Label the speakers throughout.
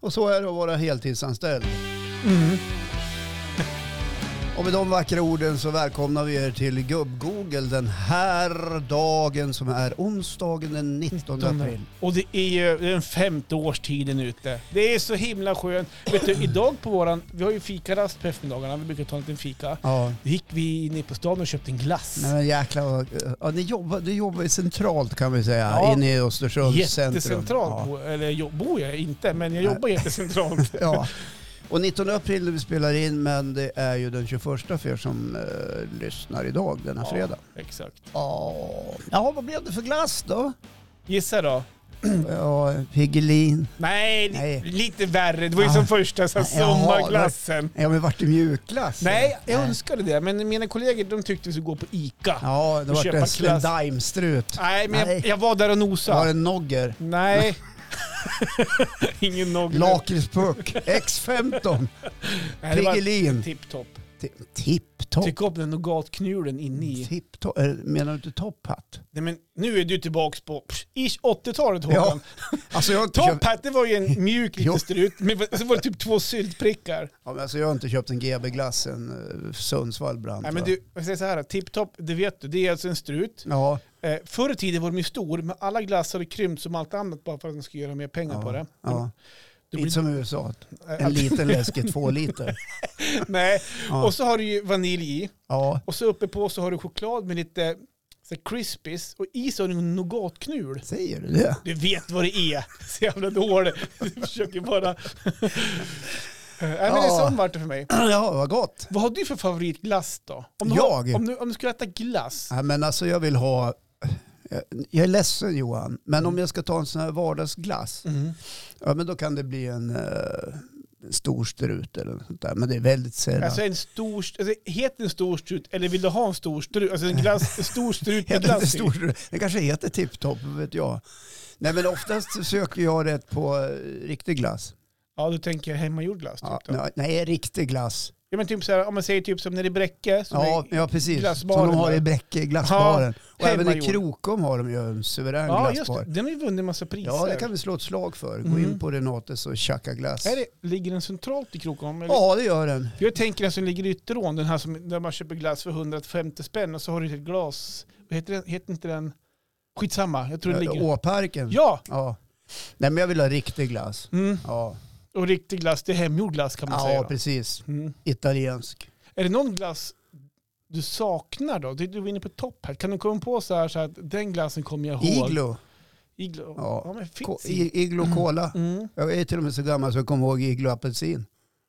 Speaker 1: Och så är det att vara heltidsanställd.
Speaker 2: Mm.
Speaker 1: Och med de vackra orden så välkomnar vi er till Gubb-Google den här dagen som är onsdagen den 19 april.
Speaker 2: Och det är ju den femte årstiden ute. Det är så himla skönt. Vet du, idag på våran, vi har ju fikarast på eftermiddagarna, vi brukar ta en liten fika.
Speaker 1: Ja.
Speaker 2: Då gick vi ner på stan och köpte en glass.
Speaker 1: Nej men jäklar vad... Ja, ni jobbar, du jobbar centralt kan vi säga,
Speaker 2: Ja.
Speaker 1: inne i Östersunds centrum.
Speaker 2: Jättecentralt, bo, eller jo- bor jag inte, men jag jobbar jättecentralt.
Speaker 1: Ja. ja. Och 19 april när vi spelar in, men det är ju den 21 för er som eh, lyssnar idag, denna
Speaker 2: Ja.
Speaker 1: fredag.
Speaker 2: Exakt.
Speaker 1: Ja. Jaha, vad blev det för glass då?
Speaker 2: Gissa då.
Speaker 1: Ja, Piggelin.
Speaker 2: Nej, li-
Speaker 1: Nej.
Speaker 2: lite värre. Det var ju
Speaker 1: Ah.
Speaker 2: som första så här,
Speaker 1: Jaha,
Speaker 2: sommarglassen.
Speaker 1: Ja, men vart det mjukglass?
Speaker 2: Nej, jag önskade det, men mina kollegor de tyckte vi skulle gå på ICA.
Speaker 1: Ja, det
Speaker 2: Och
Speaker 1: vart
Speaker 2: köpa
Speaker 1: en
Speaker 2: glass.
Speaker 1: Slendaimstrut.
Speaker 2: Nej, men
Speaker 1: Nej.
Speaker 2: Jag, jag var där och nosade.
Speaker 1: Var det Nogger?
Speaker 2: Nej. Ingen nog.
Speaker 1: Lakritspuck, X15,
Speaker 2: Nej, det var
Speaker 1: Piggelin.
Speaker 2: Tipptopp.
Speaker 1: Ti- Tipptopp.
Speaker 2: Tyck upp den nougatknulen inne i.
Speaker 1: Tipptopp. Eh, Menar du inte Top Hat?
Speaker 2: Nej, men nu är du tillbaks på pff, ish 80-talet
Speaker 1: Ja,
Speaker 2: Håkan.
Speaker 1: Alltså jag har inte,
Speaker 2: Top
Speaker 1: köpt,
Speaker 2: Hat, det var ju en mjuk
Speaker 1: Jo.
Speaker 2: liten strut. Men vad- så var det typ två syltprickar.
Speaker 1: ja, men alltså jag har inte köpt en GB-glass än eh, Sundsvall brann.
Speaker 2: Nej men
Speaker 1: tror jag.
Speaker 2: du, jag säger så här. Tipptopp, det vet du. Det är alltså en strut.
Speaker 1: Ja,
Speaker 2: Eh, förr i tiden var de ju stor, men alla glassar har krympt som allt annat bara för att de ska göra mer pengar
Speaker 1: Ja,
Speaker 2: på det.
Speaker 1: ja.
Speaker 2: Det
Speaker 1: Lite
Speaker 2: Mm. blir-
Speaker 1: som i USA.
Speaker 2: Eh,
Speaker 1: En liten läskig två liter.
Speaker 2: Nej,
Speaker 1: Ja.
Speaker 2: och så har du ju vanilj i.
Speaker 1: Ja.
Speaker 2: Och så uppe på så har du choklad med lite så här crispies och i så har du en nougatknul.
Speaker 1: Säger du det?
Speaker 2: Du vet vad det är. Så jävla dåligt. Du försöker bara... Eh, Nej, men det
Speaker 1: Ja.
Speaker 2: är sån vart det för mig.
Speaker 1: Ja, vad gott.
Speaker 2: Vad har du för favoritglass då? Om du,
Speaker 1: Jag?
Speaker 2: Har, om, du, om du skulle äta glass?
Speaker 1: Ja, men alltså jag vill ha... Jag är ledsen Johan, men om jag ska ta en sån här vardagsglass,
Speaker 2: Mm.
Speaker 1: ja, men då kan det bli en eh, en stor strut eller något sånt där. Men det är väldigt sällan.
Speaker 2: Alltså en stor... Alltså, heter det en stor strut eller vill du ha en stor strut? Alltså en glass, en stor strut med
Speaker 1: Heter det,
Speaker 2: glass
Speaker 1: inte
Speaker 2: i.
Speaker 1: stor, strut? det kanske heter tipptopp, vad vet jag. Nej men oftast söker jag rätt på eh, riktig glass.
Speaker 2: Ja, du tänker hemmagjord glass typ
Speaker 1: Ja,
Speaker 2: då?
Speaker 1: nej, nej, riktig glass.
Speaker 2: Ja, men typ så här, om man säger typ som nere i Bräcke. Som
Speaker 1: Ja,
Speaker 2: är,
Speaker 1: ja precis. Som
Speaker 2: glassbaren
Speaker 1: de har i
Speaker 2: där.
Speaker 1: Bräcke, i glassbaren. och även i
Speaker 2: hemmagjord.
Speaker 1: Krokom har de ju en suverän
Speaker 2: ja just det.
Speaker 1: glassbar.
Speaker 2: Den har ju vunnit en massa priser.
Speaker 1: Ja, det kan vi slå ett slag för. Gå in
Speaker 2: Mm.
Speaker 1: på Renates och tjacka glass.
Speaker 2: Är det, ligger den centralt i Krokom? eller?
Speaker 1: Ja, det gör den.
Speaker 2: För jag tänker den som ligger i Ytterån, den här som, där man köper glass för 150 spänn och så har du ett glas. Vad Heter, den, heter inte den... Skitsamma, jag tror den ligger...
Speaker 1: Åparken.
Speaker 2: Ja!
Speaker 1: Ja. Nej, men jag vill ha riktig glass.
Speaker 2: Mm.
Speaker 1: Ja,
Speaker 2: Och riktig glass, det är hemgjord glass kan man säga.
Speaker 1: ja
Speaker 2: då.
Speaker 1: precis.
Speaker 2: Mm.
Speaker 1: Italiensk.
Speaker 2: Är det någon glass du saknar då? Du, du var inne på topp här. Kan du komma på så här, så här att den glassen kommer jag ihåg?
Speaker 1: Iglo.
Speaker 2: Iglo.
Speaker 1: Ja.
Speaker 2: Ja. men
Speaker 1: Ko-
Speaker 2: finns Iglo.
Speaker 1: i- Iglo Cola.
Speaker 2: Mm.
Speaker 1: Jag är till och med så gammal så jag kommer ihåg Iglo Apelsin.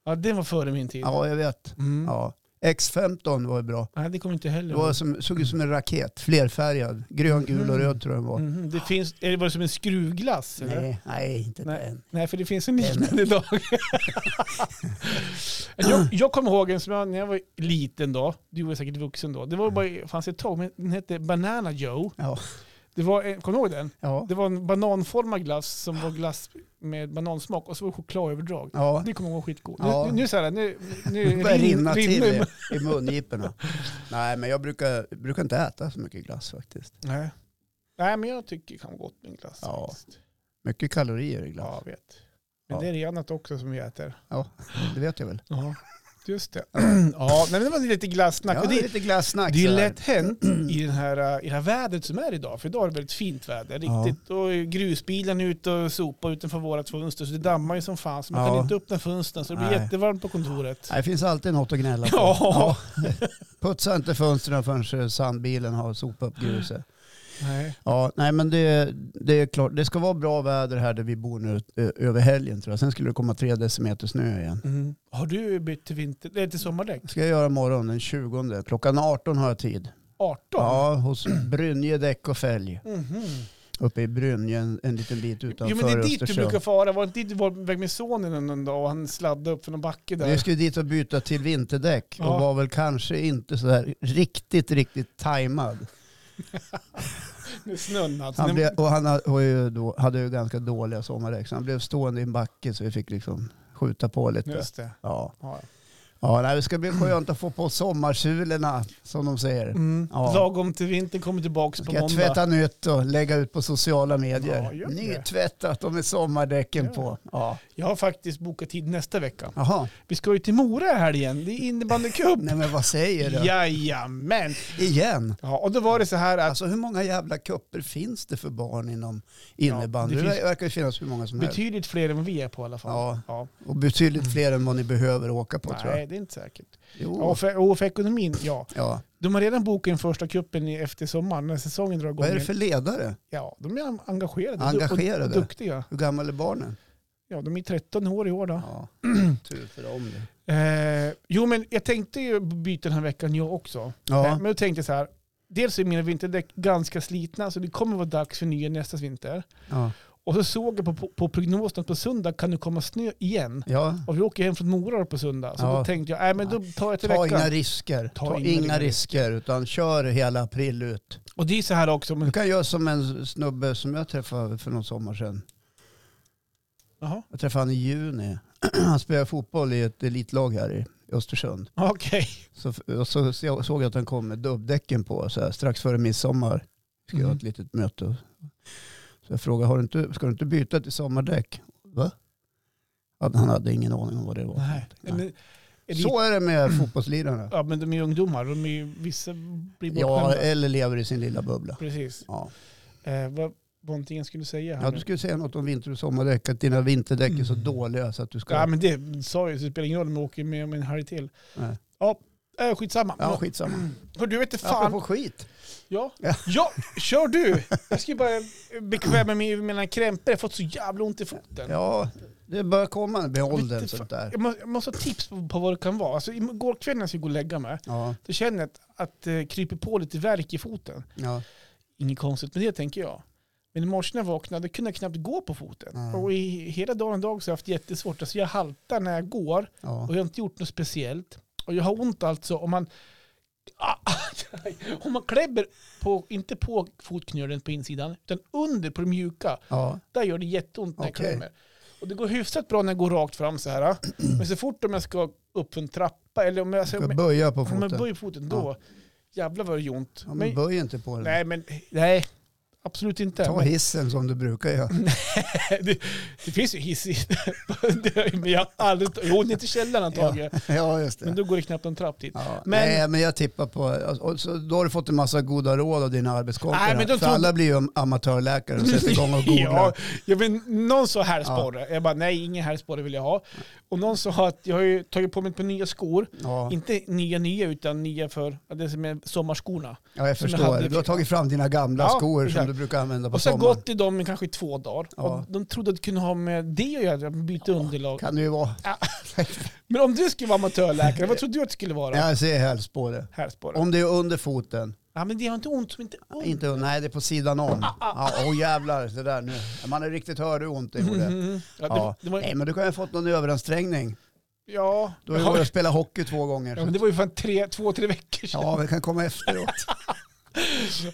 Speaker 2: Ja, den var före min tid.
Speaker 1: Ja, jag vet.
Speaker 2: Mm.
Speaker 1: Ja. X15 var ju bra.
Speaker 2: Nej, det kommer inte
Speaker 1: Det
Speaker 2: heller
Speaker 1: var
Speaker 2: ihåg.
Speaker 1: som, såg ut som en raket, flerfärgad. Grön, gul och
Speaker 2: Mm.
Speaker 1: röd tror jag den var.
Speaker 2: Mhm. Det finns, är det bara som en skruvglass? eller?
Speaker 1: Nej, nej, inte
Speaker 2: Nej.
Speaker 1: den.
Speaker 2: Nej, för det finns en liknande idag. jag, jag kommer ihåg en som jag, när jag var liten då, du var säkert vuxen då, det var
Speaker 1: Mm.
Speaker 2: bara, fanns ett tag, men den hette Banana Joe.
Speaker 1: Ja.
Speaker 2: Det var, en- kommer du ihåg den?
Speaker 1: Ja.
Speaker 2: Det var en bananformad glass som var glass med banansmak och så var det chokladöverdrag.
Speaker 1: ja.
Speaker 2: Det kommer jag ihåg skitgod.
Speaker 1: Ja.
Speaker 2: Nu, nu, nu så här, nu, nu
Speaker 1: Det börjar
Speaker 2: rin-
Speaker 1: rinna till
Speaker 2: rinner-
Speaker 1: i, i mungiporna. Nej, men jag brukar, brukar inte äta så mycket glass faktiskt.
Speaker 2: Nej. Nej, men jag tycker det kan vara gott med en glass.
Speaker 1: Ja.
Speaker 2: faktiskt.
Speaker 1: Mycket kalorier i glass.
Speaker 2: ja jag vet. Men
Speaker 1: Ja.
Speaker 2: det är det annat också som vi äter.
Speaker 1: Det vet jag väl.
Speaker 2: Ja, just det. ja, nej, men det var lite glassnack.
Speaker 1: Ja,
Speaker 2: och
Speaker 1: det är
Speaker 2: det,
Speaker 1: lite glassnack.
Speaker 2: det är ju
Speaker 1: sådär.
Speaker 2: lätt hänt i, den här, äh, i det här vädret som är idag. För idag är det väldigt fint väder.
Speaker 1: Ja.
Speaker 2: Riktigt. Och grusbilen är ute och sopar utanför våra två fönster. Så det dammar ju som fan. Så man
Speaker 1: Ja.
Speaker 2: kan inte öppna fönstren. Så det blir
Speaker 1: Nej.
Speaker 2: jättevarmt på kontoret.
Speaker 1: Nej, det finns alltid något att gnälla på.
Speaker 2: Ja.
Speaker 1: Ja. Putsa inte fönstren förrän sandbilen har sopat upp gruset.
Speaker 2: Nej.
Speaker 1: Ja, nej men det, det är klart. Det ska vara bra väder här där vi bor nu ö- över helgen tror jag. Sen skulle det komma tre decimeter snö igen.
Speaker 2: Mm. Har du bytt till, vinter, nej, till sommardäck?
Speaker 1: Det ska jag göra imorgon den 20. Klockan 18 har jag tid.
Speaker 2: 18?
Speaker 1: Ja, hos Brynje däck och fälg.
Speaker 2: Mhm.
Speaker 1: Uppe i Brynje, en, en liten bit utanför
Speaker 2: Jo men det är dit du
Speaker 1: Östersund.
Speaker 2: brukar fara. Var det inte dit du var på väg med sonen en dag och han sladdade upp för någon backe där?
Speaker 1: Vi skulle dit och byta till vinterdäck och
Speaker 2: Ja.
Speaker 1: var väl kanske inte så här riktigt, riktigt tajmad.
Speaker 2: Med snön alltså.
Speaker 1: Han
Speaker 2: Nej,
Speaker 1: blev, och han ha- har ju då, hade ju ganska dåliga sommardäck så han blev stående i en backe så vi fick liksom skjuta på lite.
Speaker 2: Just det.
Speaker 1: Ja,
Speaker 2: Ja.
Speaker 1: Ja, nej, det ska bli skönt att få på sommarsulorna som de säger.
Speaker 2: Mm.
Speaker 1: Ja.
Speaker 2: Lagom till vintern kommer tillbaka på
Speaker 1: Ska jag
Speaker 2: måndag.
Speaker 1: tvätta nytt och lägga ut på sociala
Speaker 2: Ja,
Speaker 1: medier.
Speaker 2: gör det.
Speaker 1: Nytvättat och med sommardäcken
Speaker 2: Ja.
Speaker 1: på. Ja.
Speaker 2: Jag har faktiskt bokat tid nästa vecka.
Speaker 1: Jaha,
Speaker 2: Vi ska ju till Mora här igen. Det är innebandycup.
Speaker 1: nej men vad säger du?
Speaker 2: Jajamän.
Speaker 1: Igen?
Speaker 2: Ja, och då var det så här att
Speaker 1: Alltså hur många jävla kupper finns det för barn inom innebandy?
Speaker 2: Ja, det
Speaker 1: det
Speaker 2: finns-
Speaker 1: verkar ju finnas hur många som helst.
Speaker 2: betydligt fler än vad vi är på i alla fall.
Speaker 1: Ja, och betydligt fler än vad ni behöver åka på tror jag. Oh.
Speaker 2: Nej, det är inte säkert.
Speaker 1: Jo.
Speaker 2: Och för, och för ekonomin, ja.
Speaker 1: Ja.
Speaker 2: De har redan bokat in första kuppen i- efter sommaren när säsongen drar igång.
Speaker 1: Vad är det
Speaker 2: igen.
Speaker 1: för ledare?
Speaker 2: Ja, de är en- engagerade,
Speaker 1: Engagerade.
Speaker 2: Och, och duktiga.
Speaker 1: Hur gamla är barnen?
Speaker 2: Ja, de är 13 år i år då.
Speaker 1: Ja, tur för dem det.
Speaker 2: Eh, jo, men jag tänkte ju byta den här veckan jag också. Eh,
Speaker 1: Ja,
Speaker 2: Men då tänkte jag så här. Dels är mina vinterdäck ganska slitna så det kommer vara dags för nya nästa vinter.
Speaker 1: ja.
Speaker 2: Och så såg jag på, på, på prognosen att på söndag kan det komma snö igen.
Speaker 1: ja.
Speaker 2: Och vi åker hem från Mora på söndag. Så
Speaker 1: Ja.
Speaker 2: då tänkte jag, nej men då tar jag till
Speaker 1: Ta
Speaker 2: veckan.
Speaker 1: inga risker. Ta, inga, risker utan kör hela april ut.
Speaker 2: Och det är så här också.
Speaker 1: Du
Speaker 2: Men,
Speaker 1: kan göra som en snubbe som jag träffade för någon sommar sedan.
Speaker 2: jaha,
Speaker 1: Jag träffade han i juni. Han spelade fotboll i ett elitlag här i Östersund.
Speaker 2: okej.
Speaker 1: Så, och så så- såg jag att han kom med dubbdäcken på så här, strax före midsommar. Ska jag ha
Speaker 2: Mhm.
Speaker 1: ett litet möte. Så jag frågade, har du inte, ska du inte byta till sommardäck? Va? Ja, Han hade ingen aning om vad det var.
Speaker 2: Nej. Men, elit-
Speaker 1: Så är det med fotbollslirarna.
Speaker 2: Ja men de är ju ungdomar. De är ju, vissa blir
Speaker 1: Ja, eh.
Speaker 2: bortskämda.
Speaker 1: eller lever i sin lilla bubbla.
Speaker 2: Precis.
Speaker 1: Ja.
Speaker 2: Eh, vad någonting skulle säga här
Speaker 1: Ja,
Speaker 2: nu.
Speaker 1: du skulle säga något om vinter och sommardäck, att dina vinterdäck är så
Speaker 2: Mm.
Speaker 1: dåliga så att du ska...
Speaker 2: Ja men det sa jag ju, så det spelar ingen roll om jag åker med om en helg till.
Speaker 1: Nej.
Speaker 2: Ja, eh, skitsamma.
Speaker 1: ja skitsamma.
Speaker 2: Hör du vet inte fan.
Speaker 1: Apropå skit.
Speaker 2: Ja.
Speaker 1: Ja.
Speaker 2: ja, kör du! Jag ska ju bara bekväma mig med mina krämpor. Jag har fått så jävla ont i foten.
Speaker 1: Ja, det börjar komma med åldern
Speaker 2: Lite
Speaker 1: sånt
Speaker 2: fa-
Speaker 1: där.
Speaker 2: Jag, må, jag måste ha tips på, på vad det kan vara. Alltså, igår kväll när jag skulle gå och lägga mig,
Speaker 1: Ja,
Speaker 2: då känner jag att, att eh, kryper på lite värk i foten.
Speaker 1: ja.
Speaker 2: Inget konstigt med det tänker jag. Men i morse när jag vaknade kunde jag knappt gå på foten.
Speaker 1: Mm.
Speaker 2: Och i, hela dagen dag så har jag haft jättesvårt. Alltså, jag haltar när jag går
Speaker 1: ja.
Speaker 2: och jag har inte gjort något speciellt. Och jag har ont alltså om man, ah, om man kläbber på, inte på fotknölen på insidan, utan under på det mjuka.
Speaker 1: ja.
Speaker 2: Där gör det jätteont när jag
Speaker 1: Okej.
Speaker 2: klämmer. Och det går hyfsat bra när jag går rakt fram så här. Men så fort om jag ska upp för en trappa eller om jag,
Speaker 1: Du
Speaker 2: så,
Speaker 1: ska
Speaker 2: om
Speaker 1: böja på
Speaker 2: jag, om jag
Speaker 1: foten.
Speaker 2: böjer foten då, jävlar vad det gör ont.
Speaker 1: Ja, men
Speaker 2: men,
Speaker 1: böj inte på den.
Speaker 2: nej, men nej, absolut inte.
Speaker 1: Ta
Speaker 2: Men,
Speaker 1: hissen som du brukar göra.
Speaker 2: det, det finns ju hiss i det- men jag har aldrig, jo det är till källaren antagligen.
Speaker 1: Ja, just
Speaker 2: Men
Speaker 1: det.
Speaker 2: då går det knappt en trapp dit.
Speaker 1: Ja,
Speaker 2: Men-
Speaker 1: nej, men jag tippar på... alltså, Och så, då har du fått en massa goda råd av dina
Speaker 2: Nej,
Speaker 1: arbetskompisar.
Speaker 2: men de
Speaker 1: För
Speaker 2: tror-
Speaker 1: alla blir ju am- amatörläkare och sätter igång och googlar.
Speaker 2: Ja, jag vill, någon sa herrsporre. Jag bara nej, ingen herrsporre vill jag ha. Och någon sa att jag har ju tagit på mig ett par nya skor.
Speaker 1: Ja,
Speaker 2: Inte nya nya utan nya för ja, det som är sommarskorna.
Speaker 1: ja jag
Speaker 2: som jag
Speaker 1: förstår.
Speaker 2: hade-
Speaker 1: Du har tagit fram dina gamla
Speaker 2: Ja,
Speaker 1: skor som
Speaker 2: exakt.
Speaker 1: du brukar använda på
Speaker 2: Och sen
Speaker 1: sommaren.
Speaker 2: gått i dem i kanske två dagar.
Speaker 1: Ja.
Speaker 2: Och de trodde att det kunde ha med det att göra, att byta underlag.
Speaker 1: Kan det ju vara.
Speaker 2: Men om du skulle vara amatörläkare, vad trodde du att det skulle vara?
Speaker 1: Jag ser helst på det.
Speaker 2: Härsporre.
Speaker 1: Om det är under foten.
Speaker 2: Ja, men det har inte ont som inte ont.
Speaker 1: Inte, nej, det är på sidan om.
Speaker 2: Ah,
Speaker 1: Åh ja, åh, jävlar, det där nu. Man är riktigt hör hur ont det gjorde.
Speaker 2: Mhm. Ja, det,
Speaker 1: Ja.
Speaker 2: det var,
Speaker 1: Nej, men du kan ju ha fått någon överansträngning.
Speaker 2: ja,
Speaker 1: Du har ju varit och spelat hockey två gånger.
Speaker 2: ja, men det var ju fan tre, två, tre veckor sedan.
Speaker 1: Ja, vi kan komma efteråt.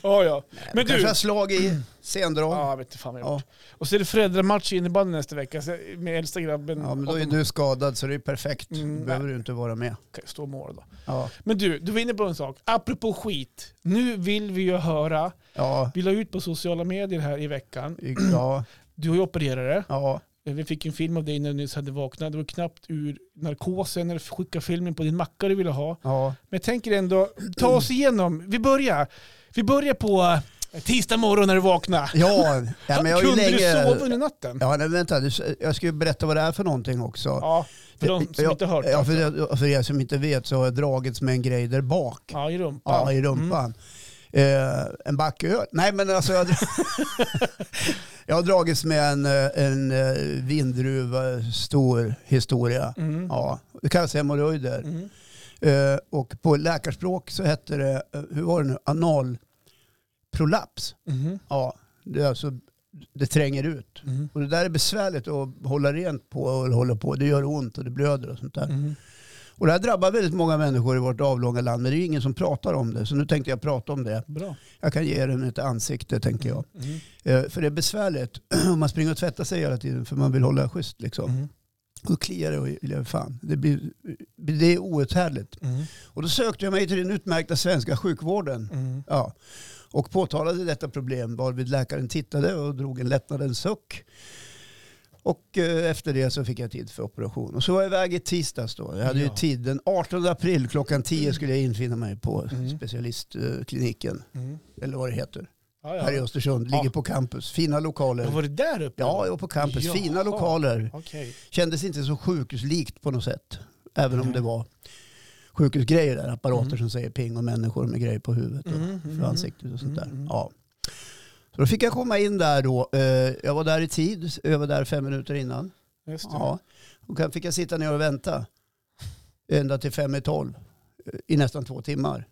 Speaker 2: Ja, ja. Men
Speaker 1: Kanske
Speaker 2: du.
Speaker 1: har slag i
Speaker 2: Ja,
Speaker 1: sendrag.
Speaker 2: jag vet inte fan vad jag
Speaker 1: Ja.
Speaker 2: gjort. Och så är det föräldramatch i innebandy nästa vecka så med äldsta grabben.
Speaker 1: Ja, men då
Speaker 2: och
Speaker 1: är
Speaker 2: de
Speaker 1: du skadad så det är perfekt.
Speaker 2: Mm,
Speaker 1: Då behöver du inte vara med.
Speaker 2: kan stå och måla då.
Speaker 1: Ja,
Speaker 2: Men du, du var inne på en sak. Apropå skit. Nu vill vi ju höra,
Speaker 1: ja,
Speaker 2: vi la ut på sociala medier här i veckan.
Speaker 1: ja,
Speaker 2: Du har ju opererare.
Speaker 1: ja.
Speaker 2: Vi fick en film av dig när du nyss hade vaknat. Du var knappt ur narkosen när du skickade filmen på din macka du ville ha.
Speaker 1: ja.
Speaker 2: Men jag tänker ändå, ta oss igenom. Vi börjar. Vi börjar på eh, tisdag morgon när du vaknade.
Speaker 1: ja. ja men jag har ju
Speaker 2: Kunde du sova
Speaker 1: länge...
Speaker 2: under natten?
Speaker 1: Ja, nej, vänta. du- Jag ska ju berätta vad det är för någonting också.
Speaker 2: Ja, för de som
Speaker 1: Ja,
Speaker 2: inte hört. alltså.
Speaker 1: Ja, för, er- för er som inte vet så har jag dragits med en grej där bak. Ja,
Speaker 2: Ja, mm. i rumpan.
Speaker 1: i rumpan. Eh, en backöl. Nej, men alltså jag, jag har dragits med en, eh, en eh, vindruva, stor historia.
Speaker 2: Mm. Mm.
Speaker 1: Ja, det kallas hemorrojder.
Speaker 2: Mm.
Speaker 1: Eh, och på läkarspråk så hette det, eh, hur var det nu, analprolaps.
Speaker 2: Mhm.
Speaker 1: Ja, det, är alltså, det tränger ut.
Speaker 2: Mhm.
Speaker 1: Och det där är besvärligt att hålla rent på och hålla på. Det gör ont och det blöder och sånt där.
Speaker 2: Mhm.
Speaker 1: Och det här drabbar väldigt många människor i vårt avlånga land, men det är ju ingen som pratar om det. Så nu tänkte jag prata om det.
Speaker 2: Bra.
Speaker 1: Jag kan ge den ett ansikte, tänker jag.
Speaker 2: Mhm.
Speaker 1: Eh, För det är besvärligt om man springer och tvättar sig hela tiden, för man vill hålla schysst liksom.
Speaker 2: Mhm.
Speaker 1: Och då kliar det och lever fan. Det blir det är outhärdligt.
Speaker 2: Mm.
Speaker 1: Och då sökte jag mig till den utmärkta svenska sjukvården.
Speaker 2: Mm.
Speaker 1: Ja. Och påtalade detta problem varvid läkaren tittade och drog en lättnadens suck. Och eh, efter det så fick jag tid för operation. Och så var jag iväg i tisdags då. Jag hade ju
Speaker 2: Ja.
Speaker 1: tid. Den 18 april klockan 10 skulle jag infinna mig på
Speaker 2: Mm.
Speaker 1: specialistkliniken.
Speaker 2: Mm.
Speaker 1: Eller vad det heter.
Speaker 2: Ja,
Speaker 1: Här i
Speaker 2: ja.
Speaker 1: Östersund.
Speaker 2: Ja.
Speaker 1: Ligger på campus. Fina
Speaker 2: Ja,
Speaker 1: lokaler.
Speaker 2: Var det där uppe?
Speaker 1: Ja, jag var på campus.
Speaker 2: Jaha.
Speaker 1: Fina lokaler.
Speaker 2: Okej.
Speaker 1: Kändes inte så sjukhuslikt på något sätt. Även om
Speaker 2: Mm.
Speaker 1: det var sjukhusgrejer där. Apparater
Speaker 2: Mm.
Speaker 1: som säger ping och människor med grejer på huvudet. Och
Speaker 2: Mm,
Speaker 1: för
Speaker 2: mm,
Speaker 1: ansiktet och sånt där.
Speaker 2: Mm, mm.
Speaker 1: Ja. Så då fick jag komma in där då. Eh, Jag var där i tid, jag var där fem minuter innan.
Speaker 2: mm. Just det.
Speaker 1: Ja. Och sen fick jag sitta ner och vänta ända till fem i tolv eh, i nästan två timmar.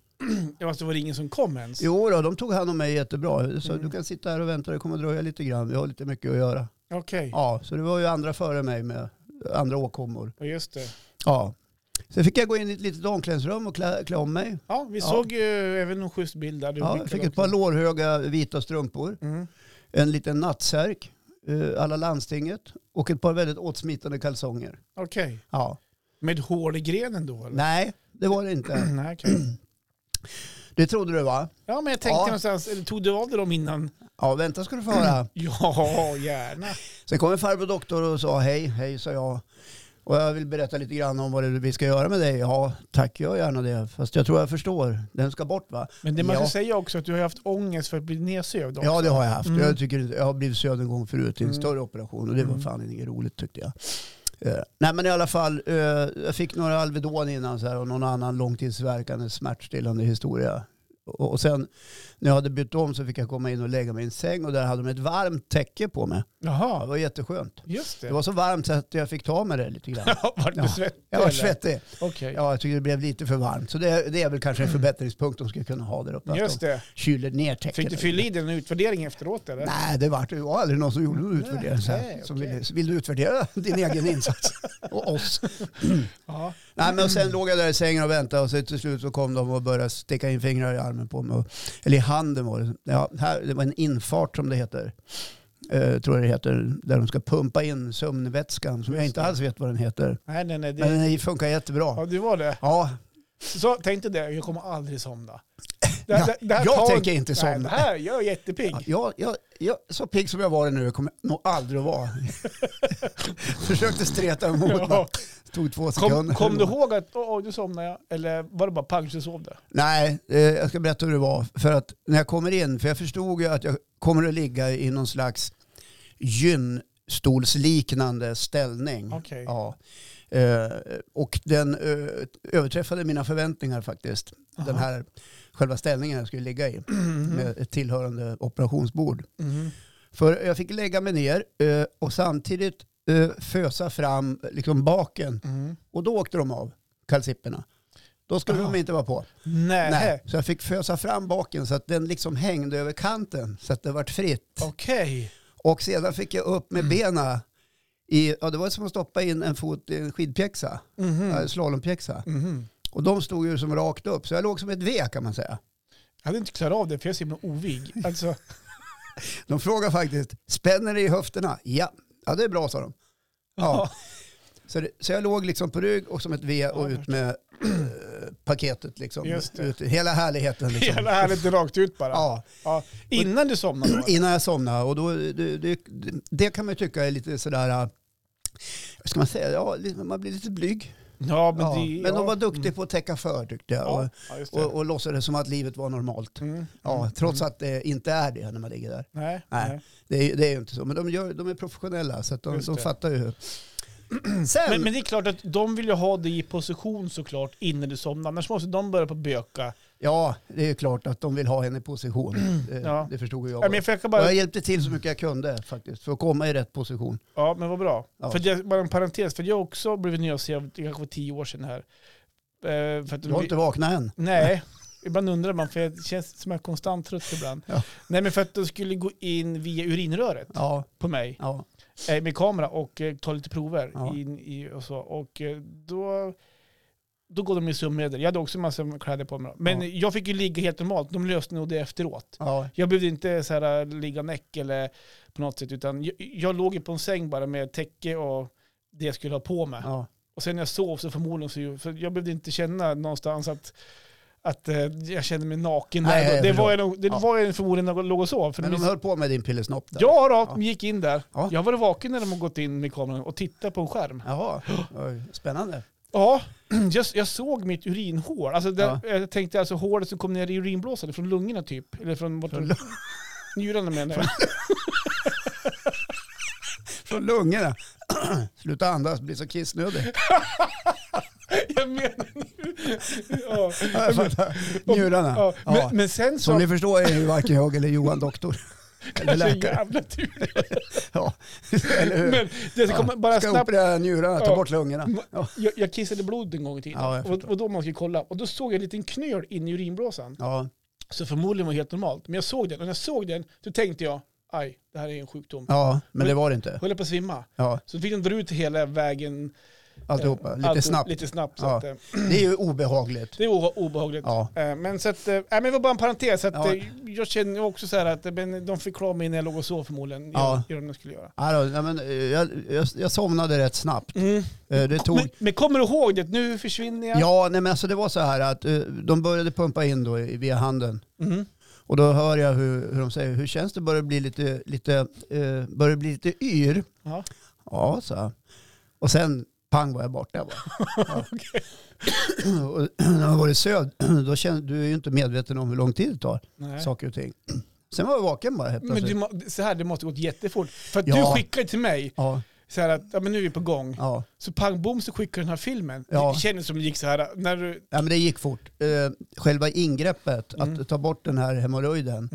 Speaker 2: Ja, fast det var ingen som kom ens.
Speaker 1: Jo då, de tog hand om mig jättebra. Så
Speaker 2: Mm.
Speaker 1: du kan sitta här och vänta, det kommer dröja lite grann. Vi har lite mycket att göra.
Speaker 2: Okej,
Speaker 1: Ja, så det var ju andra före mig med andra åkommor.
Speaker 2: ja. just det.
Speaker 1: Ja. Sen fick jag gå in i ett litet omklädningsrum och klä, klä om mig.
Speaker 2: Ja, vi
Speaker 1: Ja.
Speaker 2: såg ju även en schysst bild där. Du
Speaker 1: Ja,
Speaker 2: skickade
Speaker 1: fick ett
Speaker 2: också.
Speaker 1: par lårhöga vita strumpor.
Speaker 2: Mm.
Speaker 1: en liten nattsärk, eh, alla landstinget och ett par väldigt åtsmitande kalsonger.
Speaker 2: Okej.
Speaker 1: Ja.
Speaker 2: Med hål i grenen då? Eller?
Speaker 1: Nej, det var det inte.
Speaker 2: Nej, okej.
Speaker 1: Det trodde du va?
Speaker 2: Ja, men jag tänkte
Speaker 1: Ja.
Speaker 2: någonstans, eller tog du av dig dem innan?
Speaker 1: Ja, vänta ska du få höra.
Speaker 2: Ja, gärna.
Speaker 1: Sen kom en farbror doktor och sa hej, hej sa jag. Och jag vill berätta lite grann om vad det är vi ska göra med dig. Ja, tack, gör gärna det. Fast jag tror jag förstår. Den ska bort va?
Speaker 2: Men det man
Speaker 1: Ja.
Speaker 2: ska säga också att du har haft ångest för att bli nedsövd också.
Speaker 1: Ja, det har jag haft.
Speaker 2: Mm.
Speaker 1: Jag, tycker, inte- jag har blivit sövd en gång förut i en
Speaker 2: Mm.
Speaker 1: större operation och det var
Speaker 2: Mm.
Speaker 1: fan inget roligt tyckte jag. Eh, nej men i alla fall, eh, jag fick några Alvedon innan så här, och någon annan långtidsverkande smärtstillande historia. Och, och sen när jag hade bytt om så fick jag komma in och lägga mig i en säng och där hade de ett varmt täcke på mig. Ja, det
Speaker 2: Jaha,
Speaker 1: var jätteskönt.
Speaker 2: just det.
Speaker 1: Det var så varmt så att jag fick ta med det lite grann.
Speaker 2: Ja, Vart du
Speaker 1: Ja.
Speaker 2: svettig?
Speaker 1: Jag var
Speaker 2: eller?
Speaker 1: svettig.
Speaker 2: Okej,
Speaker 1: Ja, jag tycker det blev lite för varmt. Så det, det är väl kanske en förbättringspunkt de skulle kunna ha där uppe.
Speaker 2: just
Speaker 1: Att
Speaker 2: det.
Speaker 1: de kyler ner täcket.
Speaker 2: Fick du
Speaker 1: lite.
Speaker 2: fylla i den utvärdering efteråt eller?
Speaker 1: Nej, det var, det var aldrig någon som gjorde någon utvärdering. så här,
Speaker 2: Nej,
Speaker 1: som
Speaker 2: okej.
Speaker 1: ville, vill du utvärdera din egen insats? Och oss.
Speaker 2: Ja.
Speaker 1: Nej, men och sen låg jag där i sängen och väntade och så till slut så kom de och började sticka in fingrar i armen på mig. Och, eller i handen var det. Ja, här, det var en infart som det heter. Eh, tror jag det heter. Där de ska pumpa in sömnvätskan som jag
Speaker 2: Just
Speaker 1: inte
Speaker 2: det.
Speaker 1: alls vet vad den heter.
Speaker 2: Nej, nej, nej. Det...
Speaker 1: Men den funkar jättebra.
Speaker 2: Ja, du var det.
Speaker 1: Ja,
Speaker 2: Så tänkte det, jag kommer aldrig somna. Det,
Speaker 1: Ja,
Speaker 2: det, det här
Speaker 1: jag
Speaker 2: tar-
Speaker 1: tänker inte
Speaker 2: Nej, det
Speaker 1: somna.
Speaker 2: här, jag är jättepigg.
Speaker 1: Jag, jag, jag, så pigg som jag var nu kommer jag nog aldrig att vara. Försökte streta emot.
Speaker 2: Ja.
Speaker 1: Tog två sekunder.
Speaker 2: Kom, kom du ihåg att åh, åh, nu somnade jag? Eller var det bara pang så sov du?
Speaker 1: Nej, eh, jag ska berätta hur det var. För att när jag kommer in, för jag förstod ju att jag kommer att ligga i någon slags gynstolsliknande ställning.
Speaker 2: Okej.
Speaker 1: Mm. Ja. Eh, och den eh, överträffade mina förväntningar faktiskt. Den
Speaker 2: Aha. Mm.
Speaker 1: här själva ställningen jag skulle ligga i
Speaker 2: Mm-hmm.
Speaker 1: med ett tillhörande operationsbord.
Speaker 2: Mhm.
Speaker 1: För jag fick lägga mig ner eh, och samtidigt eh, fösa fram liksom baken.
Speaker 2: Mhm.
Speaker 1: Och då åkte de av, kalsipperna. Då skulle
Speaker 2: Aha.
Speaker 1: de inte vara på.
Speaker 2: Nej.
Speaker 1: Nej, så jag fick fösa fram baken så att den liksom hängde över kanten så att det vart fritt.
Speaker 2: Okej.
Speaker 1: Och sedan fick jag upp med benen i, ja det var som att stoppa in en fot i en skidpjäxa,
Speaker 2: Mhm.
Speaker 1: eh, slalompjäxa.
Speaker 2: Mhm.
Speaker 1: Och de stod ju som rakt upp, så jag låg som ett V kan man säga.
Speaker 2: Jag hade inte klarat av det för jag är så himla ovig. Alltså,
Speaker 1: De frågade faktiskt, spänner det i höfterna? Ja, ja det är bra sa de. Ja. Så, det, så jag låg liksom på rygg och som ett V och
Speaker 2: Ja,
Speaker 1: ut med eh, paketet liksom.
Speaker 2: Just det.
Speaker 1: Ut, hela härligheten liksom.
Speaker 2: Hela härligt rakt ut bara.
Speaker 1: Ja.
Speaker 2: Ja. Innan du somnade då?
Speaker 1: innan jag somnade. Och då, det, det, det kan man ju tycka är lite sådär, äh, vad ska man säga, ja, lite- man blir lite blyg.
Speaker 2: Ja, men,
Speaker 1: Men, ja.
Speaker 2: det,
Speaker 1: men de
Speaker 2: ja. Mm.
Speaker 1: var duktiga på att täcka för tyckte jag.
Speaker 2: Ja, ja, just
Speaker 1: Och,
Speaker 2: det.
Speaker 1: och, och låtsades som att livet var normalt.
Speaker 2: Mm,
Speaker 1: Ja,
Speaker 2: mm,
Speaker 1: trots
Speaker 2: mm.
Speaker 1: att det inte är det när man ligger där.
Speaker 2: Nej,
Speaker 1: Nej.
Speaker 2: nej.
Speaker 1: Det är, det är ju inte så, men de, gör, de är professionella så att de,
Speaker 2: Just
Speaker 1: de
Speaker 2: det.
Speaker 1: fattar ju. hur. Sen,
Speaker 2: Men, men det är klart att de vill ju ha dig i position såklart innan du somnar. Annars måste de börja på böka.
Speaker 1: ja, det är ju klart att de vill ha henne i position. Det,
Speaker 2: Ja.
Speaker 1: det förstod ju jag.
Speaker 2: Ja, men, jag försöker
Speaker 1: Och
Speaker 2: bara,
Speaker 1: jag hjälpte till så mycket jag kunde faktiskt för att komma i rätt position.
Speaker 2: ja, men vad bra.
Speaker 1: Ja.
Speaker 2: För det, bara en parentes, för jag har också blivit nedsövd, det kanske var tio år sedan här. Eh, för att
Speaker 1: Du har
Speaker 2: vi-
Speaker 1: inte vaknat än.
Speaker 2: Nej, ibland undrar man för jag känns som jag är konstant trött ibland.
Speaker 1: Ja.
Speaker 2: Nej men för att de skulle gå in via urinröret
Speaker 1: Ja,
Speaker 2: på mig
Speaker 1: ja.
Speaker 2: eh, med kamera och eh, ta lite prover.
Speaker 1: Ja.
Speaker 2: In, i, och så. och eh, då, då går de med sömnmedel. Jag hade också massa kläder på mig. då. Men
Speaker 1: Ja.
Speaker 2: jag fick ju ligga helt normalt. De löste nog det efteråt.
Speaker 1: ja.
Speaker 2: Jag behövde inte så här, eh, ligga näck eller på något sätt utan jag, jag låg ju på en säng bara med täcke och det jag skulle ha på mig.
Speaker 1: ja.
Speaker 2: Och sen när jag sov så förmodligen så, så jag behövde inte känna någonstans att, att eh, jag kände mig naken
Speaker 1: Nej,
Speaker 2: där.
Speaker 1: jag
Speaker 2: då. Det var
Speaker 1: förstår.
Speaker 2: jag, nog- det
Speaker 1: Ja.
Speaker 2: var jag förmodligen när jag låg och sov. För
Speaker 1: Men
Speaker 2: de
Speaker 1: de höll på med din pillesnopp där?
Speaker 2: Ja, då,
Speaker 1: Ja.
Speaker 2: de gick in där.
Speaker 1: Ja.
Speaker 2: Jag har varit vaken när de har gått in med kameran och tittat på en skärm.
Speaker 1: Jaha, Oj, spännande.
Speaker 2: Ja, jag, jag såg mitt urinhål. Alltså där, Jag tänkte alltså hålet som kom ner i urinblåsan, från lungorna typ. Eller från, vart
Speaker 1: Från
Speaker 2: de- njurarna menar jag.
Speaker 1: Från lungorna. Sluta andas, bli så kissnödig.
Speaker 2: jag menar nu. Ja.
Speaker 1: Ja, jag fattar. Njurarna.
Speaker 2: Ja.
Speaker 1: Ja.
Speaker 2: Men, men sen
Speaker 1: Som
Speaker 2: så...
Speaker 1: ni förstår är ju varken jag eller Johan doktor. Eller
Speaker 2: Kanske en
Speaker 1: läkare.
Speaker 2: jävla tur.
Speaker 1: Ja. Eller hur?
Speaker 2: Men det som kommer bara
Speaker 1: Ska
Speaker 2: snabbt.
Speaker 1: operera njurarna, ta
Speaker 2: Ja.
Speaker 1: bort lungorna. Ja.
Speaker 2: Jag, jag kissade blod en gång i tiden.
Speaker 1: Ja, jag
Speaker 2: och,
Speaker 1: förstår.
Speaker 2: och då man skulle kolla. Och då såg jag en liten knöl in i urinblåsan.
Speaker 1: Ja.
Speaker 2: Så förmodligen var det helt normalt. Men jag såg den och när jag såg den så tänkte jag, aj, det här är en sjukdom.
Speaker 1: ja, men det var det inte.
Speaker 2: Höll jag på att svimma.
Speaker 1: Ja,
Speaker 2: Så fick de dra ut hela vägen.
Speaker 1: alltihopa.
Speaker 2: Allt
Speaker 1: Lite
Speaker 2: och-
Speaker 1: snabbt.
Speaker 2: Lite snabbt. Så
Speaker 1: Ja.
Speaker 2: att, eh,
Speaker 1: Det är ju obehagligt.
Speaker 2: det är o- obehagligt.
Speaker 1: Ja.
Speaker 2: Eh, Men, så att, eh, nej, men det var bara en parentes. Så att
Speaker 1: Ja.
Speaker 2: eh, Jag känner också så här att eh, men de fick klara mig när jag låg och sov förmodligen.
Speaker 1: Ja.
Speaker 2: I, i det de skulle göra.
Speaker 1: Ja, då, nej, men, eh, jag, jag, jag somnade rätt snabbt.
Speaker 2: Mm.
Speaker 1: Eh, Det tog...
Speaker 2: Men, men kommer du ihåg det? Nu försvinner jag.
Speaker 1: Ja, nej, men alltså det var så här att eh, de började pumpa in då i- via handen.
Speaker 2: Mm.
Speaker 1: Och då hör jag hur, hur de säger, hur känns det? Börjar det bli lite, lite, eh, börjar det bli lite yr?
Speaker 2: Ja.
Speaker 1: Ja, så. jag. Och sen pang var jag borta. Bara. Ja. och när man varit sövd, då känner du är ju inte medveten om hur lång tid det tar,
Speaker 2: Nej.
Speaker 1: saker och ting. Sen var jag vaken bara helt
Speaker 2: Men
Speaker 1: plötsligt.
Speaker 2: du, må- så här, det måste gått jättefort. För att
Speaker 1: Ja.
Speaker 2: du skickade till mig
Speaker 1: Ja,
Speaker 2: så här att ja, men nu är vi på gång.
Speaker 1: ja.
Speaker 2: Så pang bom så skickade du den här filmen.
Speaker 1: Ja.
Speaker 2: Det kändes som det gick så här när du...
Speaker 1: ja, men det gick fort. Eh, själva ingreppet,
Speaker 2: Mm.
Speaker 1: att ta bort den här hemorrojden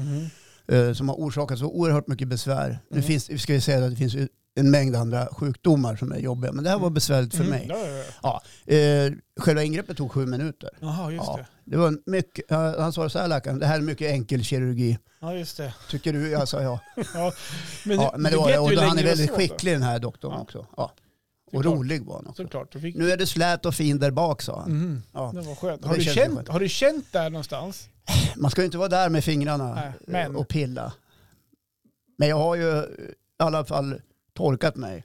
Speaker 1: eh, som har orsakat så oerhört mycket besvär. Nu
Speaker 2: Mm.
Speaker 1: finns, vi ska ju säga att det finns ju en mängd andra sjukdomar som är jobbiga, men det här var besvärligt för
Speaker 2: Mm.
Speaker 1: mig.
Speaker 2: Ja, ja, ja.
Speaker 1: Eh, själva ingreppet tog sju minuter.
Speaker 2: Jaha, just
Speaker 1: Ja.
Speaker 2: det.
Speaker 1: Det var en mycket, eh, han sa så här läkaren, det här är mycket enkel kirurgi.
Speaker 2: Ja, just det.
Speaker 1: Tycker du? Jag sa ja.
Speaker 2: Ja.
Speaker 1: ja men det
Speaker 2: du
Speaker 1: var,
Speaker 2: vet
Speaker 1: det.
Speaker 2: ju
Speaker 1: och
Speaker 2: hur
Speaker 1: då, han
Speaker 2: länge
Speaker 1: är
Speaker 2: det
Speaker 1: väldigt
Speaker 2: står, då.
Speaker 1: skicklig den här doktorn
Speaker 2: Ja.
Speaker 1: också. Ja. Och
Speaker 2: Såklart.
Speaker 1: rolig var han också.
Speaker 2: Såklart. Du fick...
Speaker 1: Nu är det slät och fin där bak sa han.
Speaker 2: Mm.
Speaker 1: Mm. Ja.
Speaker 2: Det var skönt.
Speaker 1: Det
Speaker 2: Har du,
Speaker 1: känns skönt.
Speaker 2: känt, har du känt där någonstans?
Speaker 1: Man ska ju inte vara där med fingrarna
Speaker 2: Nej,
Speaker 1: eh,
Speaker 2: men-
Speaker 1: och pilla. Men jag har ju eh, i alla fall torkat mig.